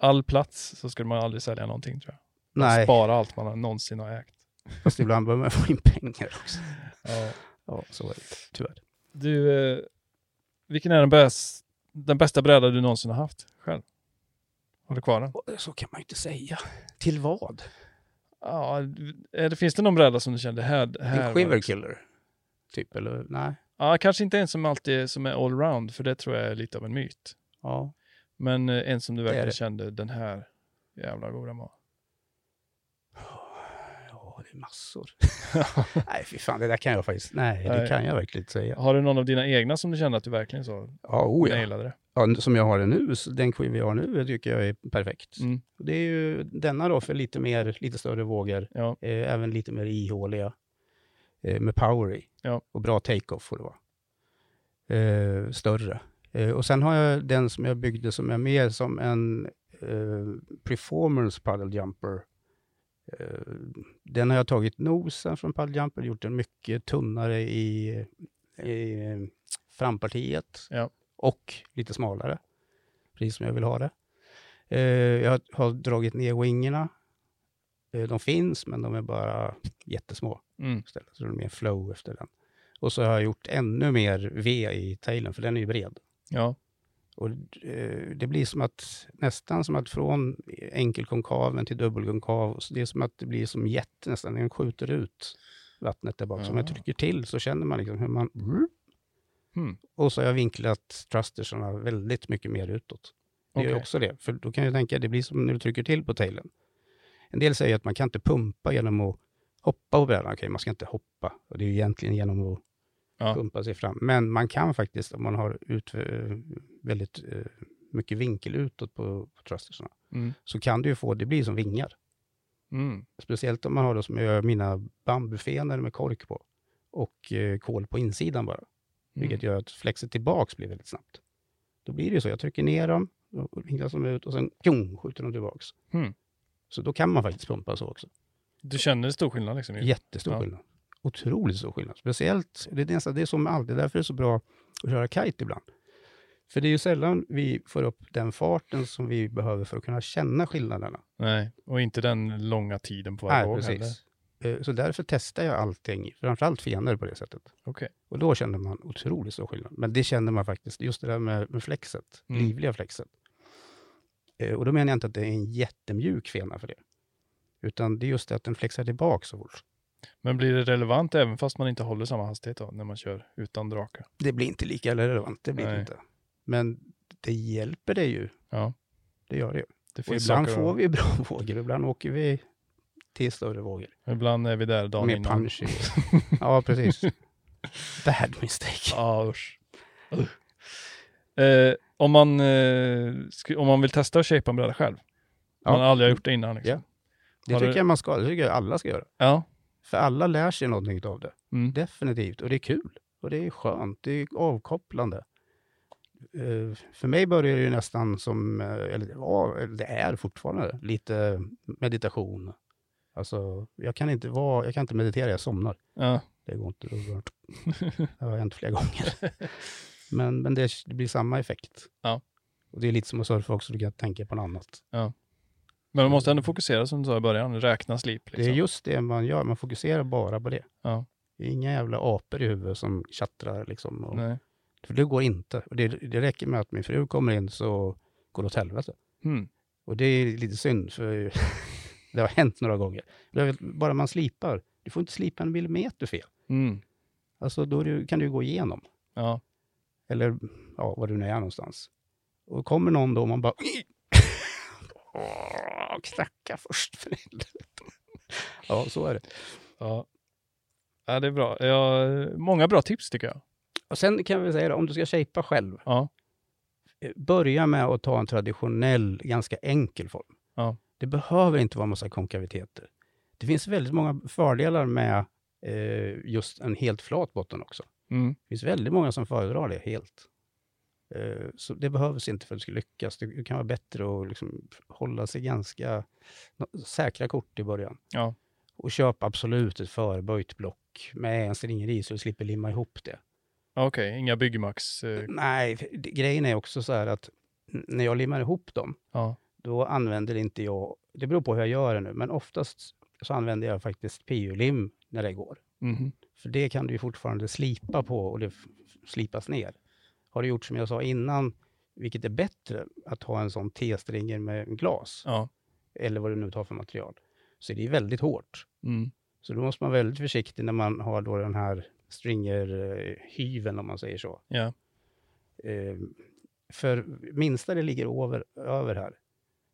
S1: all plats så skulle man aldrig sälja någonting tror jag.
S2: Nej,
S1: Spara allt man har- någonsin har ägt.
S2: fast ibland behöver man få in pengar också.
S1: Ja.
S2: Ja, så är det. Tyvärr.
S1: Du, eh, vilken är den, bäst, den bästa bräda du någonsin har haft själv? Har du kvar den?
S2: Och Så kan man ju inte säga. Till vad?
S1: Ja, är det, finns det någon bräda som du kände här? det här
S2: En
S1: var-
S2: quiverkiller? Typ, eller? Nej.
S1: Ja, kanske inte en som alltid är- som är allround, för det tror jag är lite av en myt.
S2: Ja.
S1: Men eh, en som du
S2: Det är
S1: verkligen
S2: det.
S1: kände, den här jävla god den var.
S2: Ja, det är massor. nej, fy fan, det där kan jag faktiskt. Nej, det
S1: Nej.
S2: kan jag verkligen inte säga.
S1: Har du någon av dina egna som du kände att du verkligen så
S2: Ja, oh ja.
S1: nailade det?
S2: ja, som jag har den nu, så den skiva jag har nu, jag tycker jag är perfekt.
S1: Mm.
S2: Och Det är ju denna då för lite, mer, lite större vågor,
S1: Ja.
S2: eh, även lite mer ihåliga, eh, med power i
S1: Ja.
S2: och bra take-off får det vara. Eh, större. Eh, och sen har jag den som jag byggde som är mer som en eh, performance paddle jumper. Eh, den har jag tagit nosen från paddle jumper, gjort den mycket tunnare i, i eh, frampartiet
S1: Ja.
S2: och lite smalare, precis som jag vill ha det. Eh, jag har dragit ner wingerna. Eh, de finns, men de är bara jättesmå
S1: Mm.
S2: istället. Så det är mer flow efter den. Och så har jag gjort ännu mer V i tailen, för den är ju bred.
S1: Ja.
S2: Och eh, det blir som att, nästan som att från enkelkonkaven till dubbelkonkav, så det är som att det blir som jet nästan, den skjuter ut vattnet där bak. Så om jag
S1: Ja.
S2: trycker till så känner man liksom hur man...
S1: Hmm.
S2: Och så har jag vinklat thrustersarna väldigt mycket mer utåt. Det gör
S1: Okej.
S2: ju också det, för då kan jag tänka, det blir som när du trycker till på tailen. En del säger att man kan inte pumpa genom att hoppa på brädan. Okej, man ska inte hoppa. Och det är ju egentligen genom att
S1: Ja.
S2: pumpa sig fram. Men man kan faktiskt, om man har ut, eh, väldigt eh, mycket vinkel utåt på, på thrustersarna,
S1: Mm.
S2: så kan du ju få, det blir som vingar.
S1: Mm.
S2: Speciellt om man har det som jag gör mina bambufenor med kork på och eh, kol på insidan bara,
S1: Mm.
S2: vilket gör att flexet tillbaks blir väldigt snabbt. Då blir det ju så, jag trycker ner dem, och vinklar dem ut och sen tjong, skjuter de tillbaks.
S1: Mm.
S2: Så då kan man faktiskt pumpa så också.
S1: Du känner stor skillnad liksom? ju.
S2: Jättestor
S1: Ja.
S2: skillnad. Otroligt stor skillnad. Speciellt, det är, nästan, det är som med allt, det är därför det är så bra att köra kite ibland. För det är ju sällan vi får upp den farten som vi behöver för att kunna känna skillnaderna.
S1: Nej, och inte den långa tiden på varje
S2: Nej,
S1: våg heller.
S2: precis. Eh, Så därför testar jag allting, framförallt fenor på det sättet.
S1: Okej.
S2: Och då känner man otroligt stor skillnad. Men det känner man faktiskt, just det där med, med flexet,
S1: Mm.
S2: livliga flexet. Eh, Och då menar jag inte att det är en jättemjuk fena för det. Utan det är just det att den flexar tillbaka så fort.
S1: Men blir det relevant även fast man inte håller samma hastighet då, när man kör utan drake?
S2: Det blir inte lika relevant, det blir
S1: Nej.
S2: det inte. Men det hjälper det ju.
S1: Ja.
S2: Det gör det ju.
S1: Det
S2: Och ibland
S1: saker att-
S2: får vi bra vågor, ibland åker vi till större vågor.
S1: Ibland är vi där dagen
S2: Mer
S1: innan.
S2: punchy. ja, precis. Bad mistake.
S1: Ja, usch. Ugh. Eh, om, man, eh, sku- om man vill testa att shapea en bräda själv.
S2: Ja.
S1: Man har aldrig gjort det innan. Liksom.
S2: Det
S1: har
S2: tycker
S1: du-
S2: jag man ska, det tycker jag alla ska göra.
S1: Ja.
S2: För alla lär sig någonting av det.
S1: Mm.
S2: Definitivt. Och det är kul. Och det är skönt. Det är avkopplande. Eh, för mig börjar det ju nästan som, eh, eller det var, eller det är fortfarande, lite meditation. Alltså, jag kan inte, vara, jag kan inte meditera, jag somnar.
S1: ja.
S2: Det går inte. Det, går. det har hänt flera gånger. Men, men det, det blir samma effekt.
S1: Ja.
S2: Och det är lite som att surfa också, du kan tänka på något annat.
S1: Men man måste ändå fokusera som du sa i början, räkna slip. Liksom.
S2: Det är just det man gör, man fokuserar bara på det.
S1: Ja.
S2: Det är inga jävla apor i huvudet som tjattrar liksom. Och,
S1: Nej.
S2: för det går inte. Och det, det räcker med att min fru kommer in så går det åt helvete.
S1: Mm.
S2: Och det är lite synd, för det har hänt några gånger. Jag vet, bara man slipar, du får inte slipa en millimeter fel.
S1: Mm.
S2: Alltså då är det, kan du gå igenom.
S1: Ja.
S2: eller ja, var du nu är någonstans. Och kommer någon då och man bara... Åh, knacka först för helvete. Ja, så är det.
S1: Ja. ja, det är bra. Ja, många bra tips tycker jag.
S2: Och sen kan vi säga det, om du ska shapea själv,
S1: Ja.
S2: eh, börja med att ta en traditionell, ganska enkel form.
S1: Ja.
S2: Det behöver inte vara massa konkaviteter. Det finns väldigt många fördelar med eh, just en helt flat botten också.
S1: Mm.
S2: Det finns väldigt många som föredrar det helt. Eh, Så det behövs inte för att du ska lyckas. Det det kan vara bättre att liksom hålla sig ganska nå- säkra kort i början.
S1: Ja.
S2: Och köpa absolut ett förböjt block med en sträng i så du slipper limma ihop det.
S1: Ja, Okej, inga Byggmax. Eh,
S2: Nej, för det- grejen är också så här att n- när jag limmar ihop dem,
S1: ja.
S2: då använder inte jag, det beror på hur jag gör det nu, men oftast så använder jag faktiskt PU-lim när det går.
S1: Mhm.
S2: För det kan du ju fortfarande slipa på och det f- slipas ner. Har du gjort som jag sa innan, vilket är bättre, att ha en sån T-stringer med en glas,
S1: Ja.
S2: eller vad du nu tar för material, så är det är väldigt hårt.
S1: Mm.
S2: Så då måste man vara väldigt försiktig när man har då den här stringer-hyven, om man säger så.
S1: Ja.
S2: Eh, för minsta det ligger över, över här,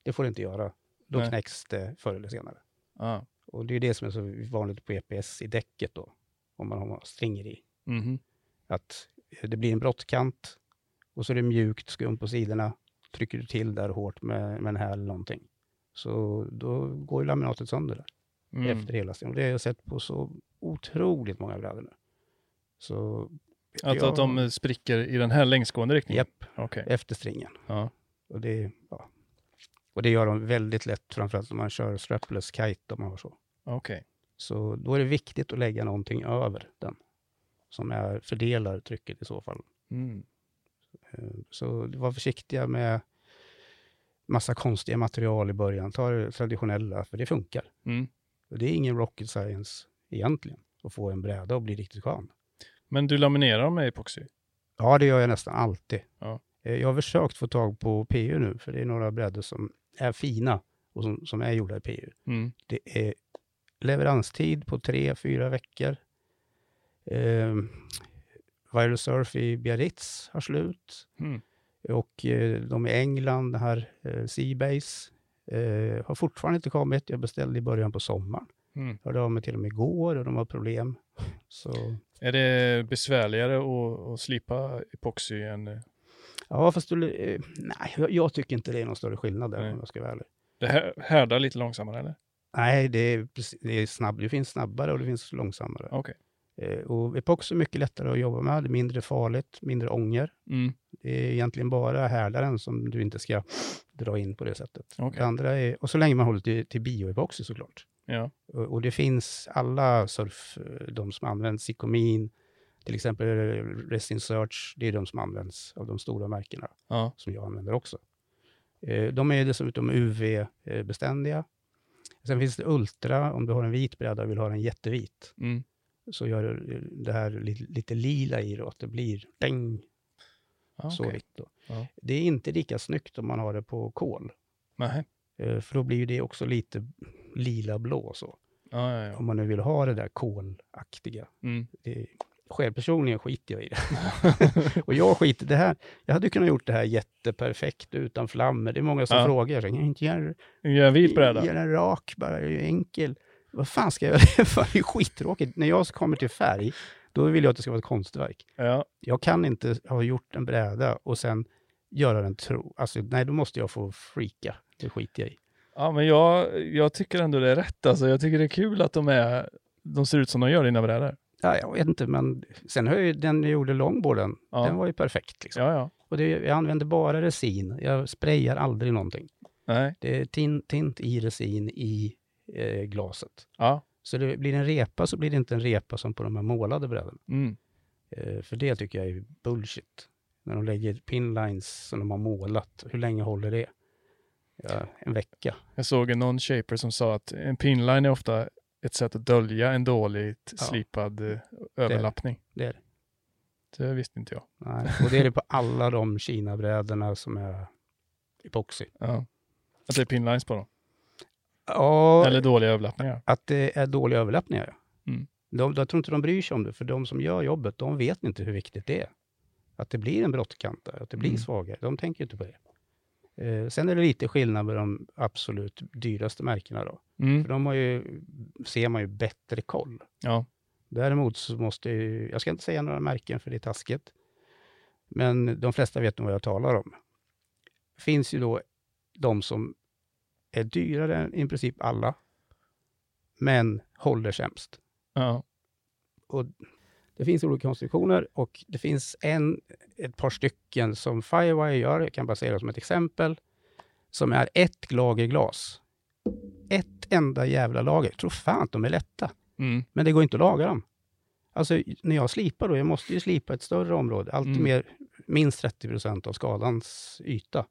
S2: det får du inte göra. Då
S1: Nej.
S2: knäcks det förr eller senare.
S1: ja.
S2: Och det är det som är så vanligt på EPS i däcket då, om man har stringer i
S1: Mhm.
S2: att eh, det blir en brottkant och så är det mjukt skum på sidorna. Trycker du till där hårt med, med en häl eller någonting, så då går ju laminatet sönder där
S1: Mm.
S2: efter hela stenen. Och det har jag sett på så otroligt många brädor nu. Så
S1: Alltså att de eh, spricker i den här längsgående riktningen?
S2: Japp,
S1: Okej.
S2: efter stringen.
S1: Ja.
S2: Och det, ja. och det gör de väldigt lätt, framförallt om man kör strapless kite om man har så.
S1: Okej.
S2: Så då är det viktigt att lägga någonting över den, som är, fördelar trycket i så fall.
S1: Mm.
S2: Eh, Så var försiktiga med massa konstiga material i början. Ta det traditionella, för det funkar.
S1: Mm.
S2: Och det är ingen rocket science egentligen, att få en bräda och bli riktigt skön.
S1: Men du laminerar dem med epoxy?
S2: Ja, det gör jag nästan alltid.
S1: Ja.
S2: Eh, Jag har försökt få tag på PU nu, för det är några brädor som är fina och som, som är gjorda i PU.
S1: Mm.
S2: Det är leveranstid på tre, fyra veckor. Eh, Viral Surf i Biarritz har slut.
S1: Mm.
S2: och eh, de i England, det här eh, Seabase, eh, har fortfarande inte kommit. Jag beställde i början på sommaren.
S1: Mm.
S2: Hörde av mig till dem igår och de har problem. Så,
S1: Är det besvärligare att, att slipa epoxy än... eh,
S2: ja, fast du, eh, nej, jag, jag tycker inte det är någon större skillnad där
S1: Nej.
S2: om jag ska vara ärlig.
S1: Det här härdar lite långsammare eller?
S2: Nej, det, är, precis- det, är snabb, det finns snabbare och det finns långsammare.
S1: Okej.
S2: Eh, och Epox är mycket lättare att jobba med, det är mindre farligt, mindre ånger.
S1: Mm.
S2: Det är egentligen bara härdaren som du inte ska dra in på det sättet.
S1: Okej.
S2: Det andra är, och så länge man håller till, till bioepoxy såklart.
S1: Ja.
S2: Och, och det finns alla surf, eh, de som används, Sicomin, till exempel eh, Resin Search, det är de som används av de stora märkena,
S1: Ja.
S2: som jag använder också. Eh, De är dessutom UV-beständiga. Sen finns det Ultra, om du har en vit bräda och vill ha den jättevit,
S1: Mm.
S2: så gör du, eh, det här lite, lite lila i då, att det blir däng,
S1: Ah,
S2: så
S1: okej.
S2: vitt. Då.
S1: Ja.
S2: Det är inte lika snyggt om man har det på kol,
S1: Nej.
S2: eh, för då blir ju det också lite lila-blå så.
S1: Ja, ja, ja.
S2: Om man nu vill ha det där kolaktiga.
S1: Mm.
S2: det, själv personligen skiter jag i det. och jag skiter det här. Jag hade ju kunnat gjort det här jätteperfekt utan flammer. Det är många som
S1: Ja.
S2: frågar. Jag tänker, inte göra
S1: En vit bräda.
S2: göra en rak bara, jag är ju enkel. Vad fan ska jag göra det för? Det är skittråkigt. När jag kommer till färg, då vill jag att det ska vara ett konstverk.
S1: Ja.
S2: Jag kan inte ha gjort en bräda och sen göra den tro. Alltså, nej, då måste jag få freaka. Det skiter jag i.
S1: ja, men jag, jag tycker ändå det är rätt. Alltså, jag tycker det är kul att de, är, de ser ut som de gör i dina brädor.
S2: Ja, jag vet inte, men sen har jag ju den jag gjorde långborden,
S1: Ja.
S2: den var ju perfekt. Liksom.
S1: Ja, ja.
S2: Och det, jag använder bara resin. Jag sprayar aldrig någonting.
S1: Nej.
S2: Det är tin, tint i resin i eh, glaset.
S1: Ja.
S2: Så det blir det en repa så blir det inte en repa som på de här målade brädan.
S1: Mm.
S2: Eh, för det tycker jag är bullshit. När de lägger pinlines som de har målat, hur länge håller det? Ja, en vecka.
S1: Jag såg en non-shaper som sa att en pinline är ofta ett sätt att dölja en dåligt slipad eh, överlappning.
S2: det är det.
S1: Det visste inte jag.
S2: Nej. Och det är det på alla de Kina-brädorna som är epoxy.
S1: Ja. Att det är pinlines på dem.
S2: Ja,
S1: Eller dåliga överlappningar.
S2: Att det är dåliga överlappningar, ja.
S1: Mm.
S2: De, jag tror inte de bryr sig om det, för de som gör jobbet, de vet inte hur viktigt det är. Att det blir en brottkant där, att det blir
S1: Mm.
S2: svagare. De tänker inte på det. Eh, sen är det lite skillnad med de absolut dyraste märkena då. För
S1: Mm.
S2: de har ju, ser man ju bättre koll.
S1: Ja.
S2: Däremot så måste ju, jag ska inte säga några märken för det är taskigt, men de flesta vet nog vad jag talar om. finns ju då de som är dyrare än i princip alla, men håller sämst.
S1: ja.
S2: Det finns olika konstruktioner och det finns en, ett par stycken som Firewire gör, jag kan bara säga det som ett exempel, som är ett lager glas. Ett enda jävla lager. Tror fan att de är lätta.
S1: Mm.
S2: Men det går inte att laga dem. Alltså när jag slipar då, jag måste ju slipa ett större område, alltid
S1: Mm.
S2: mer, minst 30 procent av skadans yta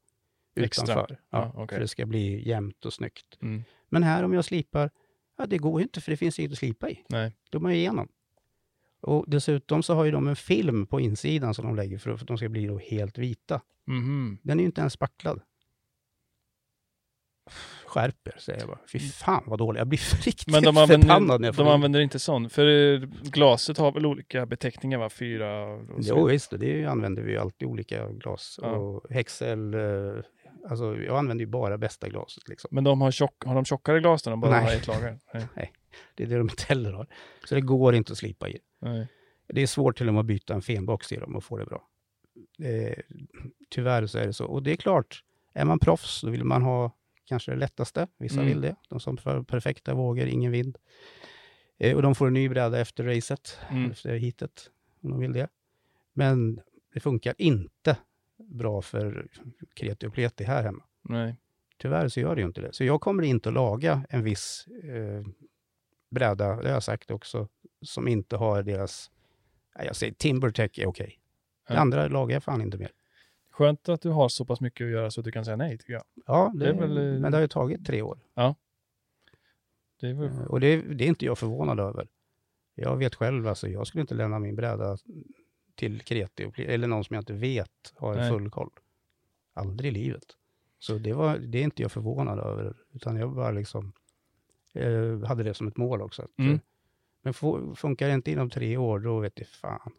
S1: Extra.
S2: utanför. Ja,
S1: Ja, okej.
S2: För det ska bli jämnt och snyggt.
S1: Mm.
S2: Men här om jag slipar, ja det går ju inte för det finns ju inget att slipa i.
S1: Nej.
S2: Då är man ju igenom. Och dessutom så har ju de en film på insidan som de lägger för att för att de ska bli då helt vita.
S1: Mhm.
S2: Den är ju inte ens spacklad. Skärper, säger jag bara. Fy fan vad dålig. Jag blir riktigt
S1: Mm. Men de
S2: förbannad när
S1: använder,
S2: jag får
S1: de
S2: in-
S1: använder inte sån. För eh, glaset har väl olika beteckningar va? Fyra och så
S2: Jo, visst, och det använder vi ju alltid olika glas.
S1: Ja.
S2: Och häxel, eh, alltså jag använder ju bara bästa glaset liksom.
S1: Men de har, tjock, har de tjockare glas då? De bara
S2: Nej.
S1: har ett lager? Nej.
S2: Det är det de inte heller har. Så det går inte att slipa i.
S1: Nej.
S2: Det är svårt till och med att byta en fenbox i dem och få det bra. Eh, tyvärr så är det så. Och det är klart, är man proffs då vill man ha kanske det lättaste. Vissa
S1: Mm.
S2: vill det. De som för perfekta vågor, ingen vind. Eh, och de får en ny bräda efter racet,
S1: Mm.
S2: efter heatet, om de vill det. Men det funkar inte bra för kreti och pleti här hemma.
S1: Nej.
S2: Tyvärr så gör det ju inte det. Så jag kommer inte att laga en viss eh, bräda, det har jag sagt också, som inte har deras... Nej, jag säger Timbertech är okej. Det
S1: Ja.
S2: andra lagar jag fan inte mer.
S1: Skönt att du har så pass mycket att göra så att du kan säga nej tycker jag.
S2: Ja, det,
S1: Det är väl, eh,
S2: men det har ju tagit tre år.
S1: Det är väl...
S2: Eh, Och det, det är inte jag förvånad över. Jag vet själv, alltså, jag skulle inte lämna min bräda till kreti, och pli- eller någon som jag inte vet har
S1: Nej.
S2: full koll. Aldrig i livet. Så det, var, det är inte jag förvånad över, utan jag bara liksom eh, hade det som ett mål också. Att,
S1: Mm.
S2: eh, Men få- funkar det inte inom tre år, då vet jag fan.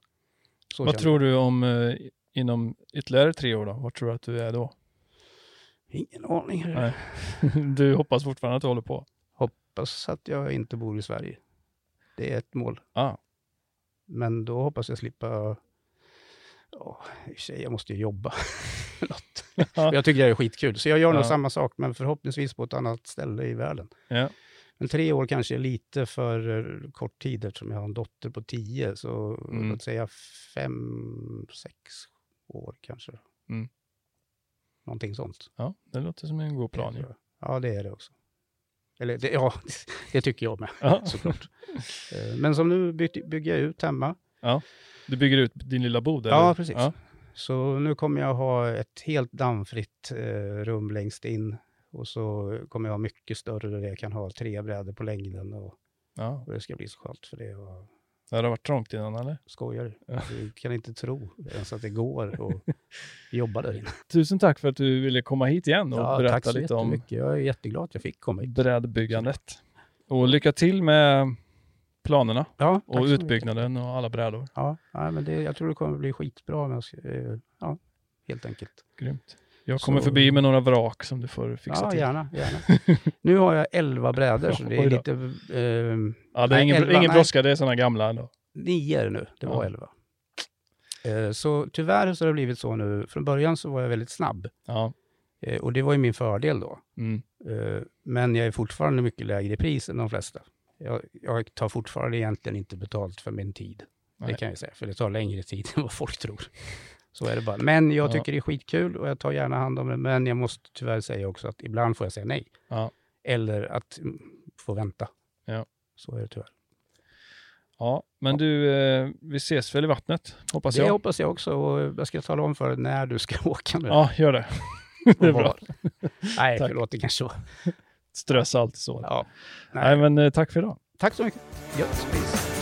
S2: Så
S1: Vad
S2: känner
S1: tror du om eh, inom ytterligare tre år då? Var tror du att du är då?
S2: jag. Ingen aning.
S1: Nej. Du hoppas fortfarande att du håller på?
S2: Hoppas att jag inte bor i Sverige. Det är ett mål.
S1: Ah.
S2: Men då hoppas jag slippa... Ja, i och för sig, jag måste ju jobba. Något. jag tycker det här är skitkul. Så jag gör nog
S1: Ja.
S2: samma sak, men förhoppningsvis på ett annat ställe i världen.
S1: Ja.
S2: Men tre år kanske är lite för eh, kort tid eftersom jag har en dotter på tio. Så
S1: Mm.
S2: låt säga fem, sex år kanske.
S1: Mm.
S2: Någonting sånt.
S1: ja, det låter som en god plan. ju.
S2: Ja, det är det också. Eller det, ja, det tycker jag med
S1: Ja.
S2: såklart. Eh, Men som nu byt- bygger jag ut hemma.
S1: Du bygger ut din lilla bod? Eller?
S2: Ja, precis. Så nu kommer jag ha ett helt dammfritt eh, rum längst in. Och så kommer jag ha mycket större där jag kan ha tre brädor på längden. Och,
S1: Ja.
S2: och det ska bli så skönt för det. Och
S1: Det har varit trångt innan eller?
S2: skojar
S1: Ja.
S2: Du kan inte tro ens att det går och jobba där inne.
S1: Tusen tack för att du ville komma hit igen och berätta lite om
S2: Jag är jätteglad att jag fick komma hit.
S1: brädbyggandet. Och lycka till med planerna
S2: Ja, tack
S1: och
S2: så mycket.
S1: utbyggnaden och alla brädor.
S2: Ja, nej, men det, jag tror det kommer bli skitbra. Med oss, eh, ja, helt enkelt.
S1: Grymt. Jag kommer
S2: Så-
S1: förbi med några vrak som du får fixa
S2: ja,
S1: till.
S2: gärna. gärna. nu har jag elva brädor, så det
S1: Oj
S2: är
S1: då.
S2: lite... Eh,
S1: Ja, det är
S2: Nej,
S1: ingen,
S2: elva,
S1: ingen
S2: nej.
S1: brådska, det är sådana gamla ändå.
S2: nio är det nu, det var
S1: Ja.
S2: elva. Eh, så tyvärr så har det blivit så nu. Från början så var jag väldigt snabb
S1: Ja.
S2: eh, och det var ju min fördel då.
S1: Mm.
S2: Eh, men jag är fortfarande mycket lägre i pris än de flesta. Jag, jag tar fortfarande egentligen inte betalt för min tid.
S1: Nej.
S2: Det kan jag säga, för det tar längre tid än vad folk tror. Så är det bara. Men jag
S1: Ja.
S2: tycker det är skitkul och jag tar gärna hand om det. Men jag måste tyvärr säga också att ibland får jag säga nej.
S1: Ja.
S2: Eller att mm, få vänta.
S1: Ja.
S2: Så är det tyvärr.
S1: ja, men du, eh, vi ses väl i vattnet, hoppas
S2: det
S1: jag.
S2: hoppas jag också. Och jag ska tala om för dig när du ska åka nu.
S1: Ja, gör det.
S2: och
S1: det är bra.
S2: var. Nej,
S1: Tack.
S2: förlåt, det kanske var.
S1: Strös alltid så.
S2: Ja.
S1: Nej, men eh, tack för idag.
S2: Tack så mycket. Gött. Peace.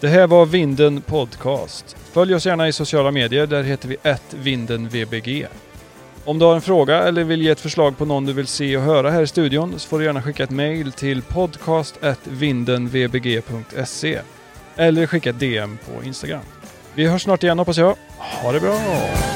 S1: Det här var Vinden Podcast. Följ oss gärna i sociala medier, där heter vi @vindenvbg. Om du har en fråga eller vill ge ett förslag på någon du vill se och höra här i studion så får du gärna skicka ett mejl till podcast@vindenvbg.se eller skicka ett DM på Instagram. Vi hörs snart igen hoppas jag. Ha det bra!